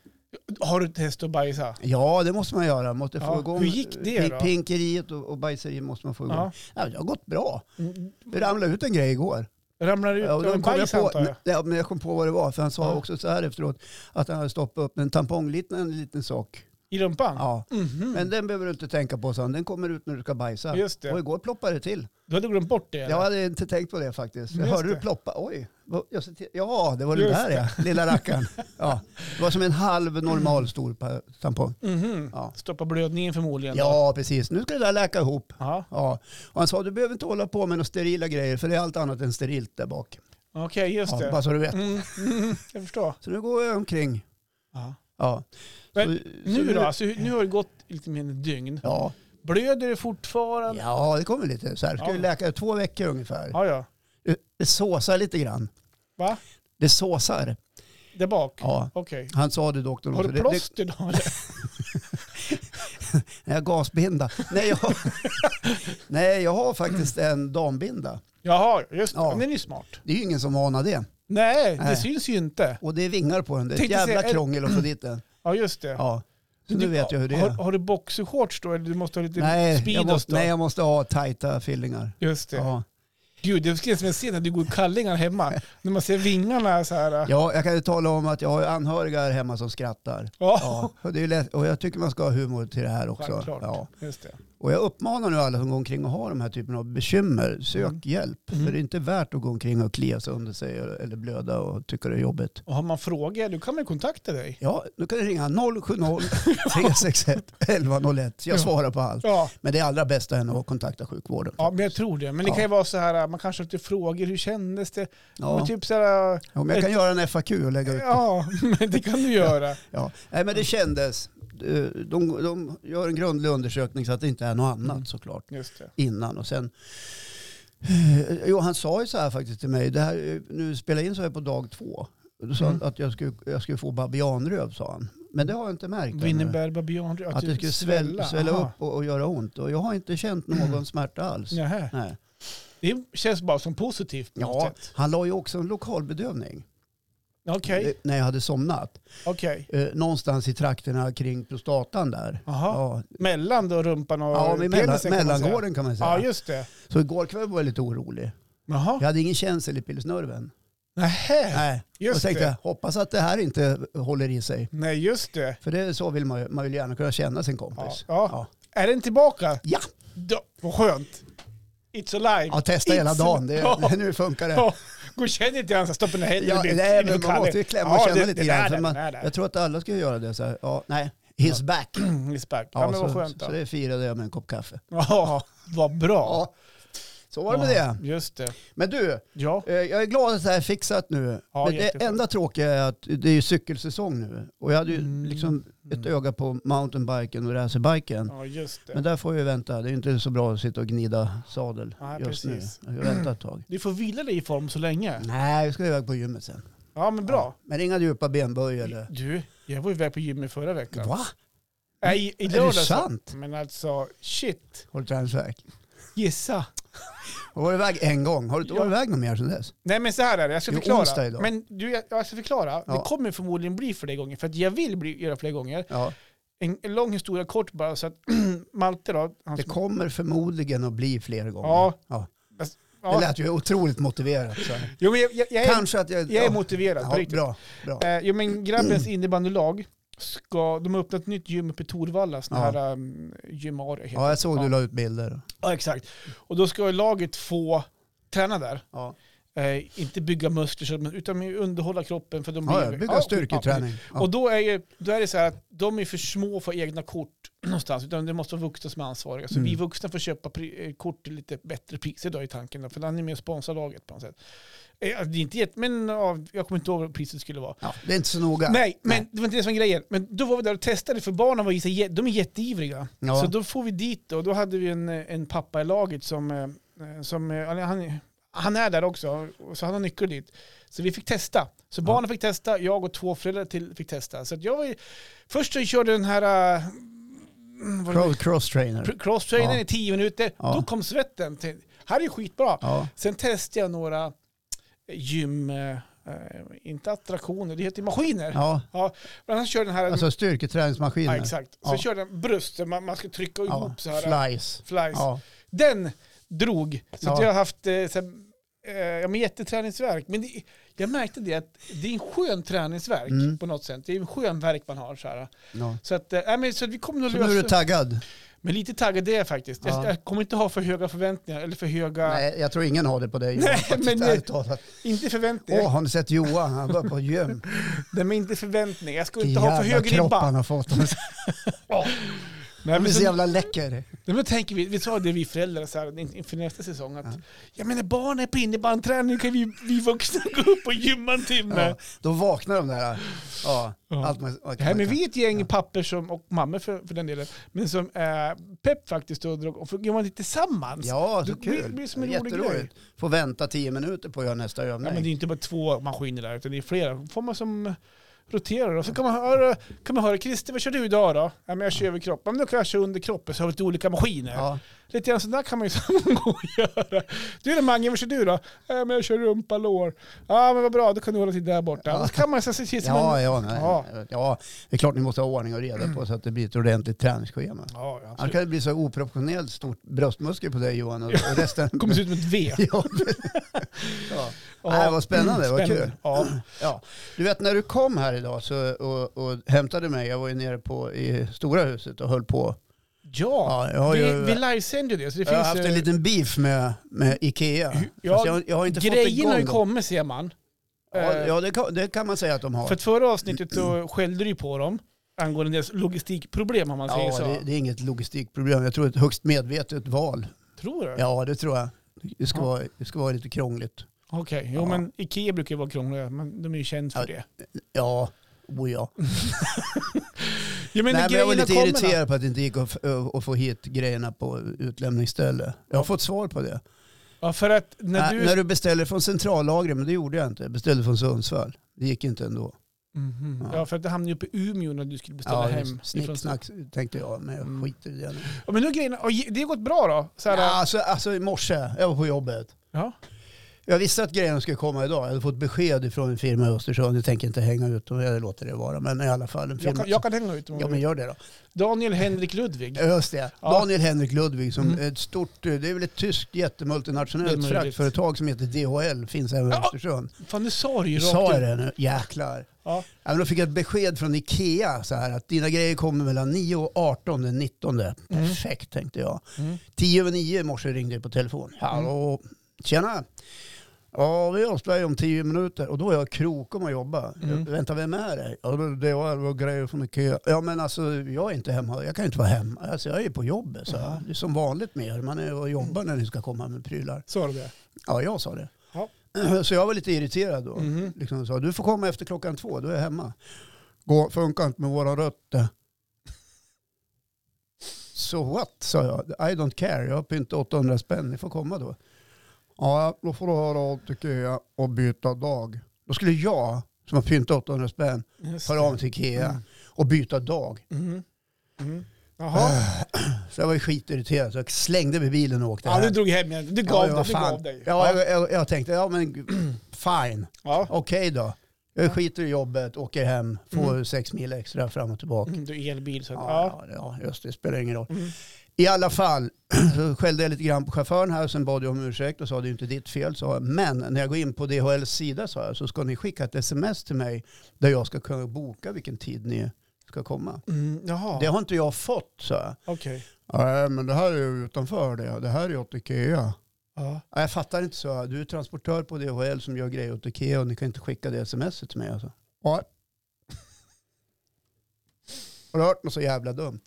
Speaker 2: Har du testat att bajsa?
Speaker 1: Ja, det måste man göra. Måste
Speaker 2: Ja,
Speaker 1: få igång
Speaker 2: hur gick det
Speaker 1: eh, pi-
Speaker 2: då?
Speaker 1: Pinkeriet och, och bajseriet måste man få igång. Ja.
Speaker 2: Ja.
Speaker 1: det har gått bra. Det ramlade ut en grej igår.
Speaker 2: Ramlar du ut
Speaker 1: Ja, och
Speaker 2: av
Speaker 1: då
Speaker 2: en
Speaker 1: kom jag,
Speaker 2: bajs
Speaker 1: på,
Speaker 2: antar jag?
Speaker 1: ja, men jag kom på vad det var, för han sa
Speaker 2: Ja.
Speaker 1: också så här efteråt att han hade stoppat upp en tampongliknande liten sak.
Speaker 2: I rumpan?
Speaker 1: Ja.
Speaker 2: Mhm.
Speaker 1: Men den behöver du inte tänka på, sa han. Den kommer ut när du ska bajsa.
Speaker 2: Just det.
Speaker 1: Och igår ploppade det till.
Speaker 2: Du hade glömt bort det? eller?
Speaker 1: Jag hade inte tänkt på det faktiskt. Jag
Speaker 2: Just
Speaker 1: hörde
Speaker 2: det.
Speaker 1: du ploppa. Oj. vad- jag ser till- Ja, det var det
Speaker 2: Just
Speaker 1: där ja. Lilla rackaren. Ja. Det var som en halv normal stor pa- tampong.
Speaker 2: Mhm.
Speaker 1: Ja.
Speaker 2: Stoppa blödningen förmodligen? då.
Speaker 1: ja, precis. Nu ska det där läka ihop.
Speaker 2: Ja.
Speaker 1: Ja. Och han sa du behöver inte hålla på med några sterila grejer för det är allt annat än sterilt där bak.
Speaker 2: Okej, just
Speaker 1: Ja,
Speaker 2: det.
Speaker 1: bara så du vet.
Speaker 2: Mm. Mm. Jag förstår.
Speaker 1: Så nu går jag omkring.
Speaker 2: Ja.
Speaker 1: Ja.
Speaker 2: Men
Speaker 1: så, så
Speaker 2: Nu då? Alltså, hur- nu har det gått lite mer än ett dygn.
Speaker 1: Ja.
Speaker 2: Blöder det fortfarande?
Speaker 1: ja, det kommer lite. Så här ska
Speaker 2: Ja.
Speaker 1: ju läka två veckor ungefär.
Speaker 2: Ja, ja.
Speaker 1: Det såsar lite grann.
Speaker 2: Va?
Speaker 1: Det såsar.
Speaker 2: Där bak?
Speaker 1: Ja.
Speaker 2: Okej.
Speaker 1: Han sa det doktorn
Speaker 2: Har
Speaker 1: också.
Speaker 2: du
Speaker 1: Det, det,
Speaker 2: plåster då? eller?
Speaker 1: nej, jag gasbinda. Nej jag, nej, jag har faktiskt en dambinda.
Speaker 2: Jaha, just det.
Speaker 1: Ja.
Speaker 2: Men Den är ju smart.
Speaker 1: Det är ju ingen som anar det.
Speaker 2: Nej, det
Speaker 1: Nej.
Speaker 2: syns ju inte.
Speaker 1: Och det är vingar på den. Det är ett
Speaker 2: Tänkte
Speaker 1: jävla
Speaker 2: säga, är-
Speaker 1: krångel att få dit den.
Speaker 2: Ja, just det.
Speaker 1: Ja. Så
Speaker 2: Men
Speaker 1: nu
Speaker 2: du-
Speaker 1: vet jag hur det
Speaker 2: Har,
Speaker 1: är.
Speaker 2: har du boxershorts då? Eller du måste ha lite
Speaker 1: Nej jag,
Speaker 2: Speedos
Speaker 1: måste,
Speaker 2: då?
Speaker 1: nej, jag måste ha tajta fillingar.
Speaker 2: Just det.
Speaker 1: Ja.
Speaker 2: Gud, det ska som jag ser när du går i kallingar hemma. när man ser vingarna så här. Ja.
Speaker 1: ja, jag kan ju tala om att jag har ju anhöriga här hemma som skrattar. Ja, och, det är ju lätt, och jag tycker man ska ha humor till det här också.
Speaker 2: Självklart.
Speaker 1: Ja.
Speaker 2: Just det.
Speaker 1: Och jag uppmanar nu alla som går omkring och har de här typen av bekymmer, sök
Speaker 2: Mm.
Speaker 1: hjälp.
Speaker 2: Mm.
Speaker 1: För det är inte värt att gå omkring och klia sig under sig eller blöda och tycka det är jobbigt.
Speaker 2: Och har man frågor, då kan man ju kontakta dig.
Speaker 1: Ja, nu kan du ringa 070 361 1101. Jag
Speaker 2: Ja.
Speaker 1: svarar på allt.
Speaker 2: Ja.
Speaker 1: Men det är allra bästa är nog att kontakta sjukvården.
Speaker 2: ja, men jag tror det. Men det
Speaker 1: Ja.
Speaker 2: kan ju vara så här, man kanske har lite frågor, hur kändes det? Men
Speaker 1: Ja.
Speaker 2: typ så här,
Speaker 1: Om jag kan göra en FAQ och lägga ut det.
Speaker 2: ja, men det kan du göra.
Speaker 1: Ja. Nej, men det kändes. Eh, De, de gör en grundlig undersökning så att det inte är något
Speaker 2: Mm.
Speaker 1: annat såklart.
Speaker 2: Just det.
Speaker 1: innan. Och sen, eh, jo, han sa ju så här faktiskt till mig, det här, nu spelar jag in så här på dag två. Då sa
Speaker 2: Mm.
Speaker 1: han att jag skulle, jag skulle få babianröv sa han. Men det har jag inte märkt. ännu.
Speaker 2: Winneberg, babian,
Speaker 1: Att det skulle svälla, svälla
Speaker 2: typ Aha.
Speaker 1: upp och, och göra ont. Och jag har inte känt någon
Speaker 2: Mm.
Speaker 1: smärta alls.
Speaker 2: Nähä.
Speaker 1: Nej.
Speaker 2: Det känns bara som positivt på något
Speaker 1: Ja,
Speaker 2: sätt.
Speaker 1: han la ju också en lokalbedövning.
Speaker 2: Okej,
Speaker 1: eh, när jag hade somnat.
Speaker 2: okej.
Speaker 1: Eh, någonstans i trakterna kring prostatan där.
Speaker 2: Jaha.
Speaker 1: Ja,
Speaker 2: Mellan då rumpan och
Speaker 1: ja men mellan,
Speaker 2: penisen kan man säga.
Speaker 1: mellangården kan man säga.
Speaker 2: Ja, just det.
Speaker 1: Så igår kväll var jag lite orolig.
Speaker 2: Jaha.
Speaker 1: Jag hade ingen känsel i pilsnerven.
Speaker 2: Nähä.
Speaker 1: Nej,
Speaker 2: Just
Speaker 1: och tänkte
Speaker 2: det.
Speaker 1: jag, hoppas att det här inte håller i sig.
Speaker 2: Nej, just det.
Speaker 1: För det är så vill man ju, man vill gärna kunna känna sin kompis.
Speaker 2: Ja. Ja. Är den tillbaka?
Speaker 1: Ja,
Speaker 2: Då, vad skönt. It's alive.
Speaker 1: ja testa hela
Speaker 2: It's-
Speaker 1: dagen. Det,
Speaker 2: Ja.
Speaker 1: Nu funkar det.
Speaker 2: Ja. Gå och känn inte grann så här, stoppa ner händerna
Speaker 1: Ja,
Speaker 2: i-
Speaker 1: nej,
Speaker 2: i
Speaker 1: men man
Speaker 2: kallen.
Speaker 1: måste ju klämma och
Speaker 2: Ja,
Speaker 1: känna
Speaker 2: det-
Speaker 1: lite
Speaker 2: det
Speaker 1: grann.
Speaker 2: där,
Speaker 1: för Man,
Speaker 2: det där.
Speaker 1: jag tror att alla skulle göra det. Så här. Ja, nej, he's back.
Speaker 2: Is back. Mm, Ja, men vad
Speaker 1: så,
Speaker 2: skönt då.
Speaker 1: så det firade jag med en kopp kaffe.
Speaker 2: Ja, vad bra.
Speaker 1: Ja, så var det med det.
Speaker 2: Just det.
Speaker 1: Men du,
Speaker 2: Ja,
Speaker 1: eh, jag är glad att det här är fixat nu.
Speaker 2: Ja,
Speaker 1: Men det
Speaker 2: jätteskönt.
Speaker 1: enda tråkiga är att det är ju cykelsäsong nu. Och jag hade ju
Speaker 2: Mm.
Speaker 1: liksom ett
Speaker 2: Mm.
Speaker 1: öga på mountainbiken och racerbiken.
Speaker 2: ja just det.
Speaker 1: Men där får jag ju vänta. Det är inte så bra att sitta och gnida sadel
Speaker 2: Nej,
Speaker 1: just
Speaker 2: precis.
Speaker 1: nu. Jag ska vänta ett tag.
Speaker 2: Du får vila dig i form så länge.
Speaker 1: Nej, vi ska iväg på gymmet sen.
Speaker 2: Ja, men bra.
Speaker 1: Ja. Men inga djupa benböj eller...
Speaker 2: Du, jag var iväg på gymmet förra veckan.
Speaker 1: Va?
Speaker 2: Nej, i- i
Speaker 1: Är det
Speaker 2: lördags.
Speaker 1: sant?
Speaker 2: Men alltså, shit.
Speaker 1: Har du träningsvärk?
Speaker 2: Gissa.
Speaker 1: Har du varit iväg en gång? Har du inte
Speaker 2: Ja.
Speaker 1: varit iväg någon mer sedan dess?
Speaker 2: Nej men så här är det, jag ska
Speaker 1: Det är onsdag
Speaker 2: förklara.
Speaker 1: idag.
Speaker 2: Men du, jag jag ska förklara.
Speaker 1: Ja.
Speaker 2: Det kommer förmodligen bli fler gånger, för att jag vill bli, göra fler gånger.
Speaker 1: Ja.
Speaker 2: En, en lång historia kort bara, så att Malte då, han
Speaker 1: Det
Speaker 2: som-
Speaker 1: kommer förmodligen att bli fler gånger.
Speaker 2: Ja.
Speaker 1: Det
Speaker 2: ja.
Speaker 1: lät ju otroligt motiverat. Så.
Speaker 2: Jo men jag, jag, jag, är,
Speaker 1: Kanske att jag...
Speaker 2: jag är
Speaker 1: ja.
Speaker 2: motiverad på
Speaker 1: Ja,
Speaker 2: riktigt.
Speaker 1: bra, bra.
Speaker 2: Eh, jo men grabbens innebandylag, ska, de har öppnat ett nytt gym uppe i Torvalla, sån
Speaker 1: Ja.
Speaker 2: här um, gymaria heter
Speaker 1: Ja, jag såg du
Speaker 2: Ja.
Speaker 1: la ut bilder.
Speaker 2: Ja, exakt. Och då ska ju laget få träna där.
Speaker 1: Ja,
Speaker 2: Eh, inte bygga muskler så- men- utan underhålla kroppen. För de
Speaker 1: ja
Speaker 2: blir-
Speaker 1: ja, bygga
Speaker 2: Ja,
Speaker 1: styrketräning.
Speaker 2: ja.
Speaker 1: Ja.
Speaker 2: Och då är, ju, då är det så här att de är för små för egna kort någonstans. Utan det måste vara vuxna som är ansvariga. Så
Speaker 1: Mm.
Speaker 2: vi vuxna får köpa pri- eh, kort till lite bättre priser då i tanken. då, För han är med och sponsrar laget på något sätt. Eh, det är inte jätte, men ja, jag kommer inte ihåg vad priset skulle vara.
Speaker 1: Ja, det är inte så noga.
Speaker 2: Nej, men
Speaker 1: Nej.
Speaker 2: det var inte det som var grejen. Men då var vi där och testade för barnen var i sig, jä- de är jätteivriga.
Speaker 1: Ja.
Speaker 2: Så då får vi dit och då hade vi en, en pappa i laget som, eh, som eh, han, han är där också, och så han har nyckel dit. Så vi fick testa. Så barnen fick testa, jag och två föräldrar till fick testa. Så att jag var ju, först så körde den här eh, vad det var,
Speaker 1: Cross, cross trainer.
Speaker 2: pr- cross-trainern
Speaker 1: Ja.
Speaker 2: i tio minuter,
Speaker 1: Ja.
Speaker 2: då kom svetten. Till, här är ju skitbra.
Speaker 1: Ja.
Speaker 2: Sen testade jag några gym, eh, eh, inte attraktioner, det heter maskiner.
Speaker 1: ja,
Speaker 2: Men han körde den här...
Speaker 1: alltså styrketräningsmaskiner.
Speaker 2: ja, exakt. Så
Speaker 1: Ja.
Speaker 2: körde han bröst, så man, man ska trycka
Speaker 1: Ja,
Speaker 2: ihop så här.
Speaker 1: flies.
Speaker 2: Flies.
Speaker 1: Ja. den.
Speaker 2: Drog. Så
Speaker 1: Ja.
Speaker 2: att jag har haft eh, så här, eh, ja, men jätteträningsvärk. Men det, jag märkte det att det är en skön träningsvärk
Speaker 1: Mm.
Speaker 2: på något sätt. Det är en skön värk man har så här.
Speaker 1: Ja.
Speaker 2: Så, att, eh, nej, men, så att vi kommer nog
Speaker 1: Så nu är du
Speaker 2: lösa
Speaker 1: taggad?
Speaker 2: Men lite taggad är jag faktiskt.
Speaker 1: Ja.
Speaker 2: Jag, jag kommer inte ha för höga förväntningar. Eller för höga...
Speaker 1: Nej, jag tror ingen har det på dig.
Speaker 2: Nej,
Speaker 1: Johan,
Speaker 2: men-
Speaker 1: ärligt talat.
Speaker 2: Inte förväntningar.
Speaker 1: Åh, har ni sett Johan? Han var på gym.
Speaker 2: Nej, men inte förväntningar. Jag ska inte
Speaker 1: Vilken
Speaker 2: ha för
Speaker 1: jävla
Speaker 2: hög
Speaker 1: kropp
Speaker 2: ribba.
Speaker 1: han har fått.
Speaker 2: Nej,
Speaker 1: Han
Speaker 2: men
Speaker 1: är så
Speaker 2: så-
Speaker 1: jävla läcker.
Speaker 2: Nej, men tänker vi, vi sa det vi föräldrar så här, in- inför nästa säsong att jag menar barn är på innebandyträning, kan vi, vi vuxna gå upp och gymma en timme?
Speaker 1: Ja, då vaknar de där. Ja,
Speaker 2: Ja.
Speaker 1: allt man, man,
Speaker 2: Nej, men
Speaker 1: man-
Speaker 2: vi är ett gäng papper som, och mammor för, för den delen, men som är pepp faktiskt och drog, och för- gör man det tillsammans.
Speaker 1: Ja, så
Speaker 2: Det blir-
Speaker 1: kul.
Speaker 2: blir som en
Speaker 1: Ja,
Speaker 2: rolig
Speaker 1: jätteroligt. Får vänta tio minuter på att göra nästa
Speaker 2: Ja,
Speaker 1: övning.
Speaker 2: men det är inte bara två maskiner där, utan det är flera. får man som roterar och så kan man höra, kan man höra Christer, vad kör du idag då? Ja, men jag kör överkropp. Ja, men då kan jag köra underkroppen så har vi lite olika maskiner.
Speaker 1: ja.
Speaker 2: Lite grann sådär kan man ju samgå och göra. Du då Mange, vad kör du då? Äh, men jag kör rumpa, lår. Ja men vad bra, då kan du hålla till där borta.
Speaker 1: Ja.
Speaker 2: Och Så kan man så se till som
Speaker 1: Ja,
Speaker 2: en...
Speaker 1: ja, nej.
Speaker 2: Ja.
Speaker 1: ja, det är klart ni måste ha ordning och reda på så att det blir ett ordentligt träningsschema.
Speaker 2: Ja, ja,
Speaker 1: Annars
Speaker 2: absolut.
Speaker 1: kan det bli så oproportionellt stort bröstmuskel på dig Johan och, och resten.
Speaker 2: kommer se ut som ett V.
Speaker 1: ja. ja.
Speaker 2: Ja.
Speaker 1: Nej, vad spännande, vad
Speaker 2: Spännande.
Speaker 1: kul.
Speaker 2: Ja.
Speaker 1: Ja. Du vet när du kom här idag så, och, och hämtade mig, jag var ju nere på, i stora huset och höll på.
Speaker 2: ja.
Speaker 1: Ja, jag har
Speaker 2: vi,
Speaker 1: ju-
Speaker 2: vi livesänder ju det. Så det
Speaker 1: Jag har
Speaker 2: finns eh,
Speaker 1: haft
Speaker 2: ju-
Speaker 1: en liten beef med, med Ikea.
Speaker 2: Ja,
Speaker 1: Fast jag, jag har inte fått
Speaker 2: Grejen
Speaker 1: igång
Speaker 2: har ju
Speaker 1: dem.
Speaker 2: kommit ser man.
Speaker 1: Ja,
Speaker 2: Eh,
Speaker 1: ja det, kan, det kan man säga att de har.
Speaker 2: För att förra avsnittet så skällde du ju på dem angående deras logistikproblem om man säger
Speaker 1: ja,
Speaker 2: så.
Speaker 1: det, det är inget logistikproblem. Jag tror ett högst medvetet val.
Speaker 2: Tror du?
Speaker 1: Ja, det tror jag. Det ska,
Speaker 2: Ja.
Speaker 1: vara, det ska vara lite krångligt.
Speaker 2: Okej, jo
Speaker 1: Ja.
Speaker 2: men Ikea brukar ju vara krångliga, men de är ju kända för
Speaker 1: Ja,
Speaker 2: det.
Speaker 1: Ja, oh ja. Nej,
Speaker 2: Ja, men
Speaker 1: men jag var
Speaker 2: grejerna
Speaker 1: lite
Speaker 2: kommer.
Speaker 1: irriterad på att det inte gick att, f- att få hit grejerna på utlämningsställe. Jag har fått svar på det.
Speaker 2: Ja, för att när
Speaker 1: När
Speaker 2: du...
Speaker 1: du, när du beställer från centrallagret, men det gjorde jag inte. Jag beställde från Sundsvall. Det gick inte ändå.
Speaker 2: Mhm.
Speaker 1: Ja.
Speaker 2: Ja, för att det hamnade ju uppe i Umeå när du skulle beställa
Speaker 1: Ja,
Speaker 2: hem.
Speaker 1: just
Speaker 2: ifrån-
Speaker 1: Snicksnack tänkte jag, men
Speaker 2: Mm.
Speaker 1: jag skiter i det nu.
Speaker 2: Ja, men nu är grejerna, och ge- det har gått bra då? Så här, eh,
Speaker 1: Ja,
Speaker 2: ja.
Speaker 1: alltså, alltså i morse, jag var på jobbet.
Speaker 2: Ja.
Speaker 1: Jag visste att grejerna skulle komma idag. Jag hade fått besked från en firma i Östersund. Jag tänker inte hänga ut dem, jag låter det vara. Men i alla fall. En
Speaker 2: Jag
Speaker 1: firma.
Speaker 2: kan, jag kan hänga ut dem.
Speaker 1: Ja men Eh, gör det då.
Speaker 2: Daniel Henrik Ludvig.
Speaker 1: Just det.
Speaker 2: Ja.
Speaker 1: Daniel Henrik Ludvig som
Speaker 2: Mm.
Speaker 1: ett stort, eh, det är väl ett tyskt
Speaker 2: Det är
Speaker 1: jättemultinationellt
Speaker 2: möjligt.
Speaker 1: fraktföretag som heter DHL, finns även i
Speaker 2: Ja.
Speaker 1: Östersund.
Speaker 2: Fan du sa det ju rakt
Speaker 1: Sa
Speaker 2: ut.
Speaker 1: jag det nu? Jäklar.
Speaker 2: Ja.
Speaker 1: Ja, men då fick jag ett besked från Ikea så här att dina grejer kommer mellan 9 och 18 den 19. Perfekt tänkte jag.
Speaker 2: Mm.
Speaker 1: 10 över 9 i morse ringde det på telefon. Hallå, tjena. Ja, vi avslöjar om 10 minuter och då är jag krokom och jobbar.
Speaker 2: Mm.
Speaker 1: Jag, vänta, vem är det? Ja, det- det var det var grejer från Ikea. Ja, men alltså jag är inte hemma. Jag kan ju inte vara hemma. Alltså, jag är ju på jobbet. Så
Speaker 2: Mm.
Speaker 1: Det är som vanligt med er. Man är och jobbar när ni ska komma med prylar.
Speaker 2: Sa du det?
Speaker 1: Ja, jag sa det.
Speaker 2: Ja.
Speaker 1: Så jag var lite irriterad då
Speaker 2: Mhm.
Speaker 1: liksom sa du får komma efter klockan två, då är jag hemma. Gå, funkar inte med våra rötter. So what, sa jag. I don't care, jag har pynt 800 spänn, ni får komma då. Ja, då får du höra av till Ikea och byta dag. Då skulle jag, som har pyntat 800 spänn,
Speaker 2: Just
Speaker 1: höra
Speaker 2: det.
Speaker 1: av till Ikea
Speaker 2: Mm.
Speaker 1: och byta dag.
Speaker 2: Mhm. Mhm. Jaha.
Speaker 1: Äh. Så jag var ju skitirriterad, så jag slängde mig i bilen och åkte
Speaker 2: Ja, du
Speaker 1: hem.
Speaker 2: drog hem igen. Du
Speaker 1: Ja,
Speaker 2: gav dig.
Speaker 1: vad
Speaker 2: Du
Speaker 1: fan.
Speaker 2: gav dig.
Speaker 1: Ja, jag, jag, jag tänkte, ja men fine.
Speaker 2: Ja.
Speaker 1: Okej då. Jag skiter i jobbet, åker hem, får sex mil extra fram och tillbaka.
Speaker 2: Mm, Du är elbil så att, ja.
Speaker 1: Ja, ja, just det. Spelar ingen roll.
Speaker 2: Mm.
Speaker 1: I alla fall så skällde jag lite grann på chauffören här. Sen bad jag om ursäkt och sa det är inte ditt fel. Sa jag. Men när jag går in på DHLs sida sa jag, så ska ni skicka ett sms till mig där jag ska kunna boka vilken tid ni ska komma.
Speaker 2: Mm, jaha,
Speaker 1: Det har inte jag fått, sa jag.
Speaker 2: okej.
Speaker 1: Nej, men det här är ju utanför det. Det här är ju åt Ikea.
Speaker 2: Ja.
Speaker 1: Nej, Jag fattar inte, så Du är transportör på DHL som gör grejer åt Ikea och ni kan inte skicka det sms till mig. Alltså. Nej. Har du hört något så jävla dumt?